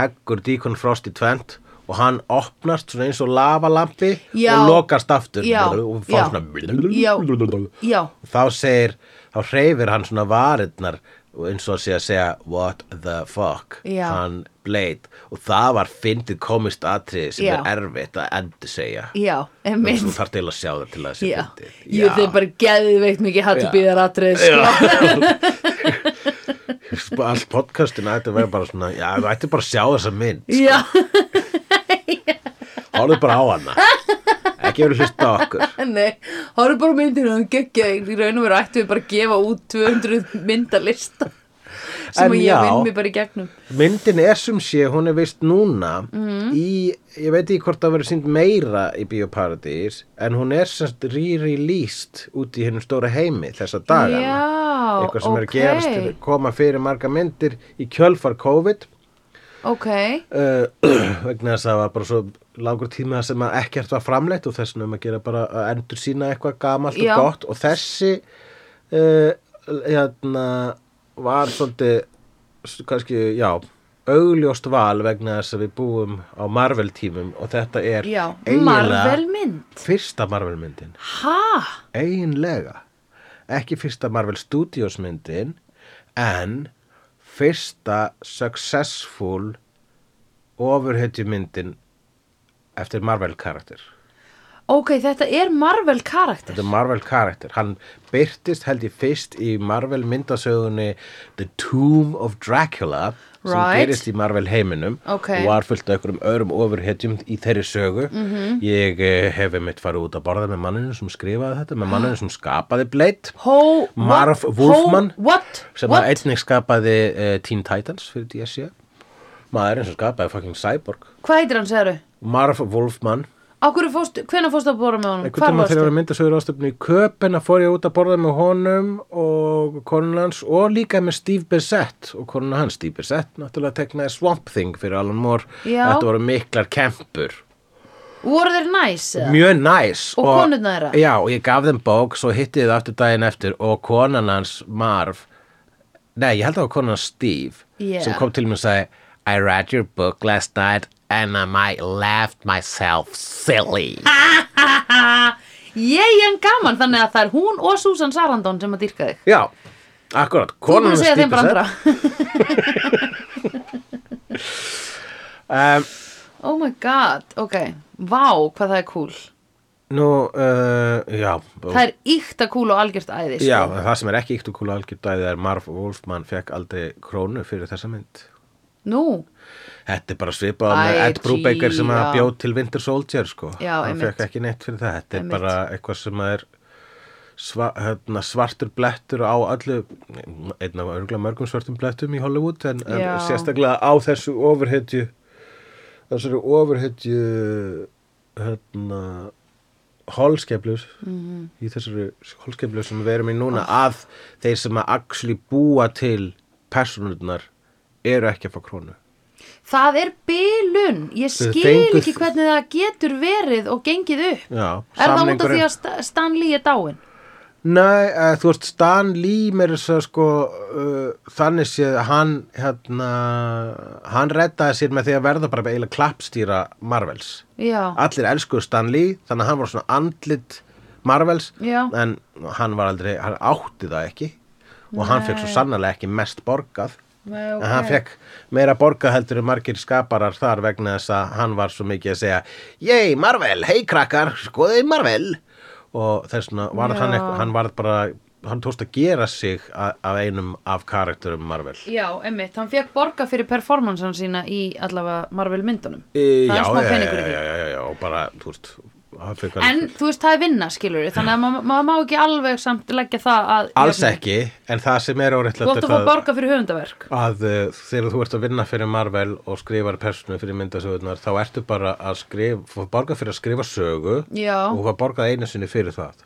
heggur Deacon Frost í tvent og hann opnast svona eins og lavalampi
Já.
og lokast aftur
Já,
og
já.
fá svona
Já. Já,
þá segir, þá hreyfir hann svona varirnar og eins og sé að segja what the fuck
Já.
hann Blade og það var fyndið komist atrið sem
Já.
er erfitt að endur segja
já, einmitt
þú þarf til að sjá það til að það sé
Já,
fyndið
jú, þið bara geðveikt mikið hattu
Já.
býðar atrið sko.
Sp- allt podcastin ætti að vera bara svona já, við ætti bara að sjá þessa mynd sko.
Já,
<laughs> horfðu bara á hana ekki verið hlusta á okkur
nei, horfum bara á myndina og geggja, í raun og veru ættum við bara að gefa út 200 myndalista sem
En
að
já.
ég vinn mig bara í gegnum
myndin er sem sé, hún er vist núna
Mhm.
í, ég veit ekki hvort það verið sínd meira í Bíóparadís en hún er semst re-released út í hennum stóra heimi þessa dagana
Já,
eitthvað sem er að
ókei.
gerast koma fyrir marga myndir í kjölfar COVID
Ok,
uh, <clears throat> vegna þess að það var bara svo langur tíma sem að ekkert var framleitt og þess vegna um að gera bara að endur sína eitthvað gamalt
Já.
og gott og þessi uh, hérna var svolítið s- kannski, já augljóst val vegna þess að við búum á Marvel tímum og þetta er
já,
eiginlega
Marvel mynd
fyrsta Marvel myndin
Ha,
eiginlega ekki fyrsta Marvel Studios myndin en fyrsta successful ofurhetju myndin eftir Marvel karakter
ok, þetta er Marvel karakter
þetta er Marvel karakter hann byrtist held ég fyrst í Marvel myndasögunni The Tomb of Dracula sem
Right.
gerist í Marvel heiminum
Ok.
og var fullt af einhverjum öðrum ofurhetjum í þeirri sögu
Mhm.
-hmm. ég eh, hef einmitt farið út að borða með manninu sem skrifaði þetta með manninu sem skapaði Blade
Ho, what,
Marv Wolfman.
Ho, what,
sem
what
að einnig skapaði uh, Teen Titans fyrir E. DSC maðurinn sem skapaði fucking Cyborg
Hvað heitir hann, segirðu?
Marv Wolfman
Á hverju fórst, hvenær fórst að bóra með honum?
einhvern tíma
varstu?
þegar við myndasögur ástöfnu í köpina fór ég út að borða með honum og konulans og líka með Steve Bissett og konuna hans Steve Bissett náttúrulega teknaði Swamp Thing fyrir Alan Moore
Já.
þetta voru miklar kempur
Voru þeir næs? eða?
mjög næs
Og konurnar þeirra?
já og ég gaf þeim bók svo hitti ég það aftur daginn eftir og konan hans Marv nei ég held að það var konan hans Steve
Yeah.
sem kom til mér og sagði I read your book last night and I might laughed myself silly
Ég en gaman, þannig að það er hún og Susan Sarandon sem að dýrka þig.
já akkurat
Þú erum
konan
að
hans
segja
Steve
þeim bara
Bissett.
andra.
um,
<laughs> Oh my god, ok. Vá, hvað það er cool.
nú uh, já
Það er íkta cool og algjört æði. sko.
Já, en það sem er ekki yktu kúla algjörðæði er Marv Wolfman fekk aldrei krónu fyrir þessa mynd.
Nú,
Þetta er bara svipað með
Æ,
Ed Brubaker sem að
já.
bjóð til Winter Soldier sko.
Já,
hann
einmitt.
fekk ekki neitt fyrir það. Þetta er
Einmitt.
bara eitthvað sem að er sva, hérna, svartur blettur á allu, einn af örgulega mörgum svartum blettum í Hollywood en, en
Já.
sérstaklega á þessu ofurhetju þessari ofurhetju hérna holskeflus
Mhm.
í þessari holskeflus sem við erum í núna að þeir sem að actually búa til personurnar eru ekki að fá krónu
það er bilun. Ég
Þau
skil
fengu-
ekki hvernig það getur verið og gengið upp.
Já,
er það út af því
samningurinn-
að Sta- Stan Lee er dáin?
Nei, uh, þú veist, Stan Lee mér þess að sko uh, þannig séð að hann hérna, hann reddaði sér með því að verða bara eiginlega klappstýra Marvels
Já,
Allir elskuðu Stan Lee, þannig að hann var svona andlit Marvels
Já.
en hann var aldrei, hann átti það ekki og hann fekk svo sannarlega ekki mest borgað
Nei, ok.
En hann fekk meira borga heldur en margir skaparar þar vegna þess að hann var svo mikið að segja Yey, Marvel, hei krakkar, skoðið Marvel og þess vegna varð hann,
Já.
eitthvað, hann varð bara hann tókst að gera sig a- af einum af karakterum Marvel
Já, emmitt, hann fekk borga fyrir performansan sína í allavega Marvel myndunum
e,
Það
já,
er smá
já,
peningur í
já,
því.
já, já, já, og bara, þú veist hann fékk hann-
En þú veist, það er vinna,
<clears throat>
skilur Þannig að ma- maður má ekki alveg samt leggja það að
alls
jöfnu.
ekki, en það sem er
Þú
óreittlætt
átt
er
að fá
það
borga fyrir höfundaverk
að uh, þegar þú ert að vinna fyrir Marvel og skrifar personu fyrir myndasögunar þá ertu bara að skrifa borga fyrir að skrifa sögu
Já.
og hvað borgaði einu sinni fyrir það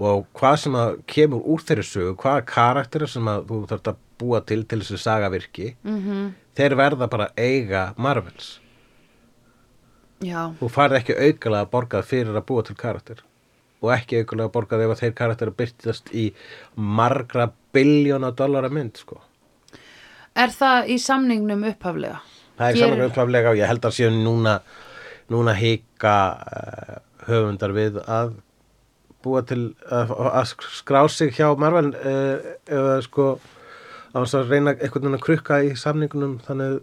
og hvað sem að kemur úr þeirri sögu hvaða karakterar sem að þú þarft að búa til til þessi saga virki -hmm.
Mhm.
þeir verða bara að eiga Marvels
Já,
þú farið ekki aukulega borgað fyrir að búa til karakter og ekki aukulega borgað ef að þeir karakterar byrtast í margra biljóna dollara mynd sko
er það í samningnum upphaflega?
Það er
Gerir-
saman upphaflega og ég held að séu núna, núna hika uh, höfundar við að búa til að, að skrá sig hjá Marvel uh, eða sko á þess að reyna einhvern veginn að krukka í samningunum þannig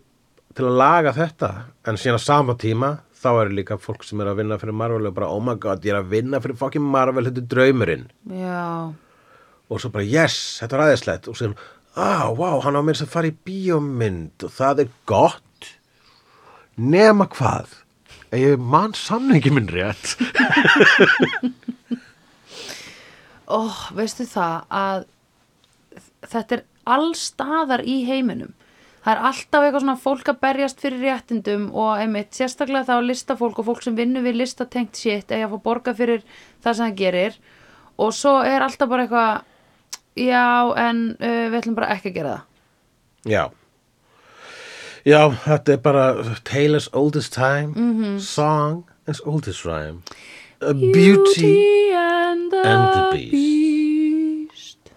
til að laga þetta en síðan á sama tíma þá eru líka fólk sem er að vinna fyrir Marvel og bara oh my god ég er að vinna fyrir fucking Marvel þetta er draumurinn
Já,
og svo bara yes, þetta er aðeinslegt og svo ah, wow, hann á mér sem fara í bíómynd og það er gott nema hvað að ég man samningi minn rétt <laughs>
ó, veistu það að þetta er allstaðar í heiminum það er alltaf eitthvað svona fólk að berjast fyrir réttindum og einmitt sérstaklega þá listafólk og fólk sem vinnur við listatengt shit eða að fá borga fyrir það sem það gerir og svo er alltaf bara eitthvað já en uh, við ætlum bara ekki að gera það
já já, þetta er bara Taylor's oldest time song as old as rhyme a Mhm. beauty
and the,
and the Beast.
beast.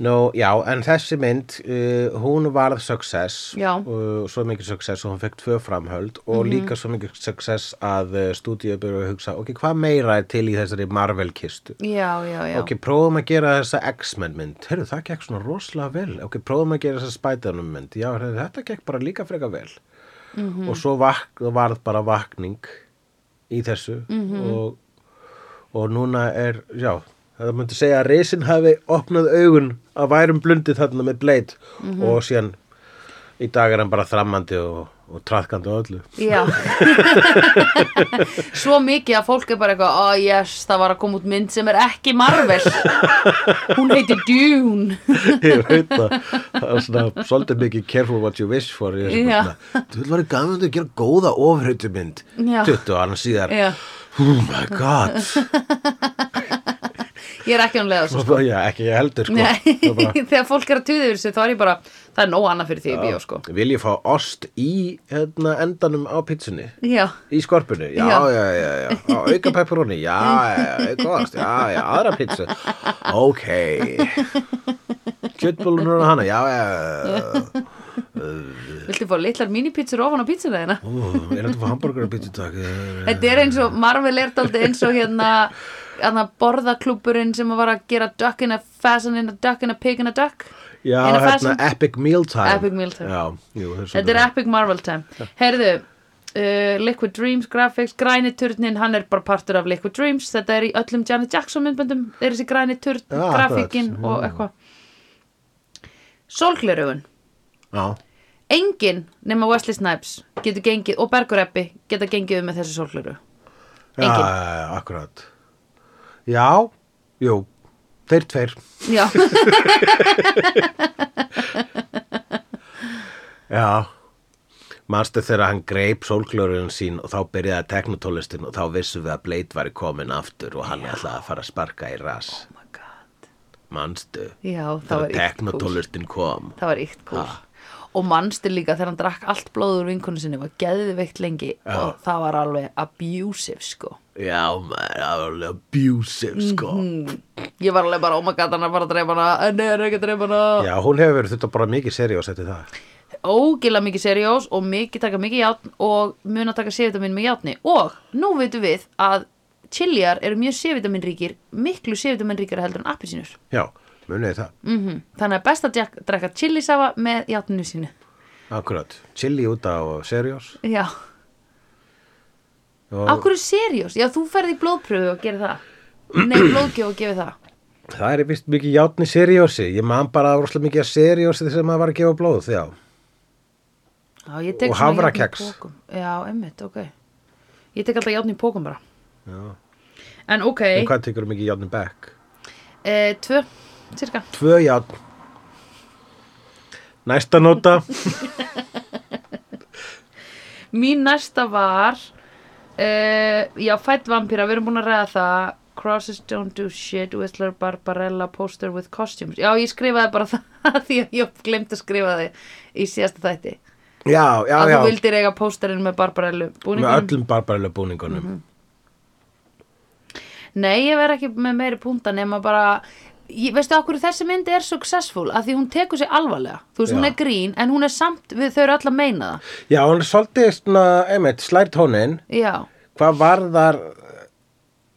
Nú, já, en þessi mynd, uh, hún varð success,
Já.
uh, svo mikið success og hún fekk tvö framhöld og líka svo mikið success að uh, stúdíu byrjuðu að hugsa, ok, hvað meira er til í þessari Marvel-kistu?
já, já, já
Ok, prófum að gera þessa X-Men mynd, heyrðu, það gekk svona rosalega vel, ok, prófum að gera þessa Spider-Man mynd, já, heyrðu, þetta gekk bara líka freka vel og svo vak varð bara vakning í þessu og, og núna er, já, það myndi segja að reisin hafi opnað augun að værum blundið þarna með bleit og síðan í dag er hann bara þrammandi og, og traðkandi og öllu.
Já Svo mikið að fólk er bara eitthvað Oh yes, það var að koma út mynd sem er ekki
<laughs>
Marvel Hún heiti Dune
ég veit það það er svona svolítið mikið careful what you wish for ég er
Já.
svona, þú vil vera gaman að gera góða ofrautumynd
Já.
20 ára síðar
Já,
oh my god
ég er ekki án leða svo
Svo bara, já, ekki ég heldur sko.
Nei,
Svo
<laughs>
bara,
þegar fólk er að tuða yfir sig þá er ég bara Það er nóg annað fyrir því í bíó sko
"Ah, vil ég fá ost í hérna, endanum á pítsunni
Já,
í skorpinu, já, já,
Já.
já, já, Á, auka pepperoni, já, já, já, auka ost já, já, aðra pítsu
<laughs>
ok kjöttbólunur og hana, já, já, já
viltu fá litlar mínipítsur ofan á pítsuna þeirna?
Ú, er þetta fyrir hamburgerapítsu takk
Þetta er eins og, Marvel er daldi eins og hérna Þannig borðaklúburinn sem var að gera duck in a fasan in a duck in a pig in a duck
Já,
In a
hérna
fashion-
Epic Mealtime
Epic Meal Time.
Já, jú, það er
Þetta
svolítið
er epic Marvel time Herðu, uh, Liquid Dreams Graphics, græni turnin, hann er bara partur af Liquid Dreams, þetta er í öllum Janet Jackson myndböndum, er þessi græni turn
Já, akkurat. Mm.
grafíkin og eitthvað Sólglerugun
Já,
Engin nema Wesley Snipes getur gengið, og Bergur Eppi geta gengið um með þessu sólgleru
já,
Engin.
já, akkurat Já, jú, þeir tveir
Já,
<laughs> Já Manstu þegar hann greip sólglörun sín og þá byrjaði teknotólistin og þá vissum við að Blade væri komin aftur og hann ætlaði að fara að sparka í ras
oh my god
Manstu
Já, það var
þegar
íkt kúl
teknotólistin kom
Það var íkt kúl
Ha.
Og mannstir líka þegar hann drakk allt blóður vinkonu sinni var geðveikt lengi og það var alveg abusive sko
Já, maður, það var alveg abusive sko
Mhm. Ég var alveg bara, oh my god, hann er bara að dreifa hana En nei, hann er ekki að dreifa hana
Já, hún hefur verið þetta bara mikið seriós eftir það
Ógila mikið seriós og mikið taka mikið játn Og mun að taka C-vitamin með játni Og nú veitum við að chiliar eru mjög C-vitamin ríkir Miklu C-vitamin ríkir heldur en appisínur
Já, munið þið það,
mm Þannig að best að drekka- drekka chilisafa með játninu sínu
akkurat chili út á seriós
Já,
og
af hverju seriós? Já, þú ferði í blóðpröfu og gerir það Nei, blóðgjöf og gefur það
það er vist mikið játni seriósi ég man bara að rosalega mikið að seriósi þess að maður var að gefa blóð því á
Já, ég tek svona
Og
járn í
hafrakex.
pokum. Já, einmitt, ok Ég tek alltaf játn í pókum bara
Já.
En ok,
en hvað tekur mikið játni back?
e, tvö, cirka
Tvö játn Næsta nota
Mín næsta var uh, Já, fætt vampíra, við erum búin að ræða það Crosses don't do shit, Whistler, Barbarella, poster with costumes Já, ég skrifaði bara <laughs> það því að ég glemt að skrifa þið í síðasta þætti
Já, já,
að
já
þú vildir eiga pósterinn með Barbarellu
Með
búningunum
öllum barbarlega búningunum
Mhm. Nei, ég verð ekki með meiri púnta nema bara ég, Veistu okkur þessi mynd er successful að því hún tekur sér alvarlega Þú veist, hún
Já.
er grín en hún er samt við þau eru öll að meina það
Já, hún er svolítið svona, einmitt, slært tónin
Já,
Hvað varðar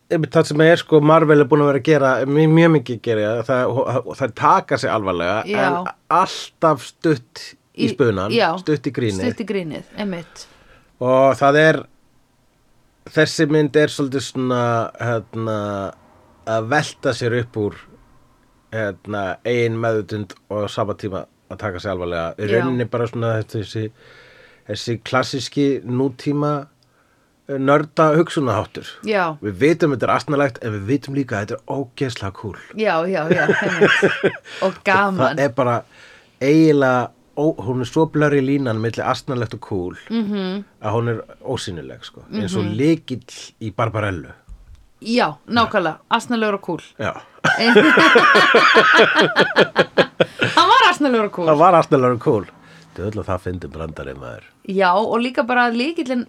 einmitt það sem er sko Marvel er búin að vera að gera mjög, mjög mikið að gera það, það taka sig alvarlega
Já.
en alltaf stutt í, spunan,
já,
stutt í grínið
Stutt í grínið, einmitt
og það er þessi mynd er svolítið svona hérna, að velta sér upp úr hérna, eigin meðutund og á sama tíma að taka sér alvarlega í
Já.
rauninni bara svona þetta, þessi, þessi klassíski nútíma eh, nörda hugsunaháttur
Já,
við vitum þetta er astnalegt en við vitum líka að þetta er ógeðslega kúl
já, já, já
<laughs>
einmitt. og gaman
það er bara eiginlega ó, hún er svo blöri línan milli astnalegt og kúl
Mhm.
-hmm. að hún er ósýnileg sko. eins og lykill í Barbarellu
já, nákvæmlega, asnalegur og kúl
já,
hann var asnalegur og kúl
<laughs> það var astnalegur og kúl döðl og það fyndi brandari maður
já, og líka bara líkillin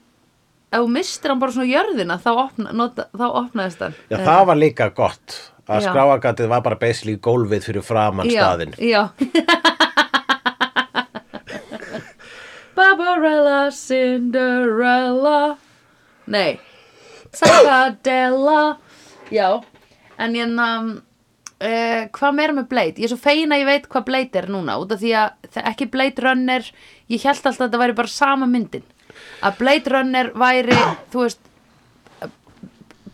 ef þú mistir hann bara svona jörðina þá, opna, nota, þá opnaðist hann
já, það var líka gott að
Eh. Já.
skráagatið var bara basically gólfið fyrir framan staðinn
já, já. Barbarella, Cinderella nei Sakadella já, en ég um, Uh, hvað meira með Blade? Ég er svo fegin að ég veit hvað Blade er núna út af því að þe- ekki Blade Runner ég held alltaf að þetta væri bara sama myndin að Blade Runner væri þú veist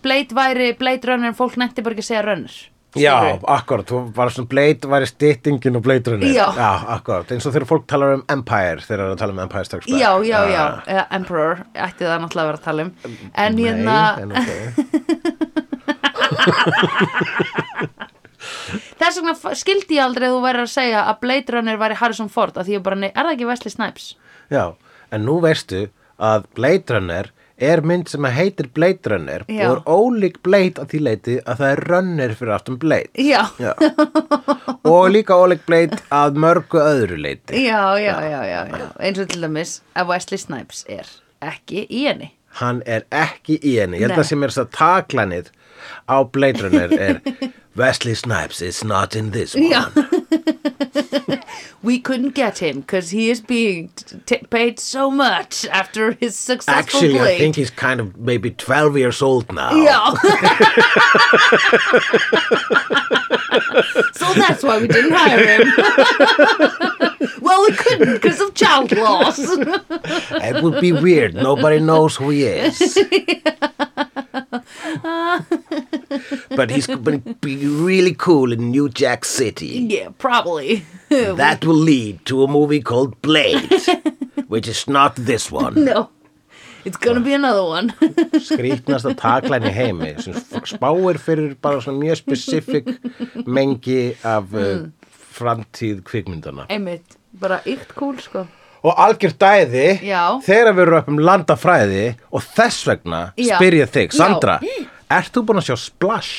Blade væri Blade Runner en fólk nefndi bara ekki að segja Runner
Já,
Skilurðu?
akkurat, þú var svona Blade væri styttingin og Blade runner
Já.
akkurat, eins og þegar fólk talar um Empire þegar það tala um Empire Strikes Back Ah.
já, já, já, eða Emperor ætti það náttúrulega að vera að tala um en
Nei,
hérna,
en ok
þess vegna f- skildi ég aldrei að þú væri að segja að Blade Runner væri Harrison Ford að því ég bara, nei, er það ekki Wesley Snipes?
Já, en nú veistu að Blade Runner er mynd sem að heitir Blade Runner
Já.
og er ólík Blade að því leiti að það er Runner fyrir aftum Blade.
Já,
Já. og líka ólík Blade að mörgu öðru leiti.
já, já, já, já, já. eins og til dæmis að Wesley Snipes er ekki í henni
Hann er ekki í henni. Ég held
Nei.
að sem er þess að taklanið á Blade Runner er Wesley Snipes is not in this one.
Já We couldn't get him because he is being t- paid so much after his successful
Actually, I
Blade
think he's kind of maybe 12 years old now.
Já <laughs> So that's why we didn't hire him Well we couldn't because of child loss
It would be weird. Nobody knows who he is. but he's going to be really cool in New Jack City.
Yeah, probably
That will lead to a movie called Blade, which is not this one.
No It's gonna be another one
Skrítnasta taklæn í heimi sem spáir fyrir bara svona mjög spesifik mengi af mm. framtíð kvikmyndana.
Einmitt, bara ykt kúl sko
og algjör dæði
Já.
þegar við erum upp um landafræði og þess vegna
Já.
spyr ég
Já.
þig,
Mm.
Sandra ert þú búin að sjá Splash?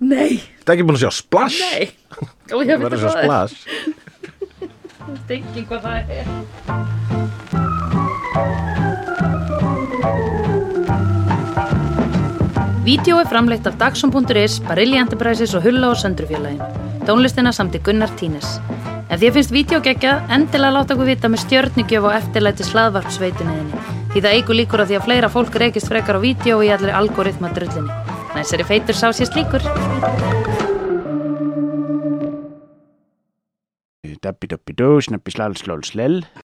Nei,
Þetta ekki búin að sjá Splash?
nei Ó, ég
Þú
veit
verður að
hvað
sjá
það er
Splash
Stinking hvað það er Vídeó er framleitt af Dagsum.is, Barilli Enterprises og Hulla og Söndrufjörlægin. Tónlistina samt í Gunnar Tínes. Ef því finnst vídeo geggja, endilega láta okkur vita með stjörnigjöf og eftirlæti slaðvarpsveituninni. Því það eigur líkur að því að fleira fólk reykist frekar á vídeo í allri algoritma drullinni. Næsari feitur sá sér slíkur.
dabbi dabbi dó, snabbi slal slól slell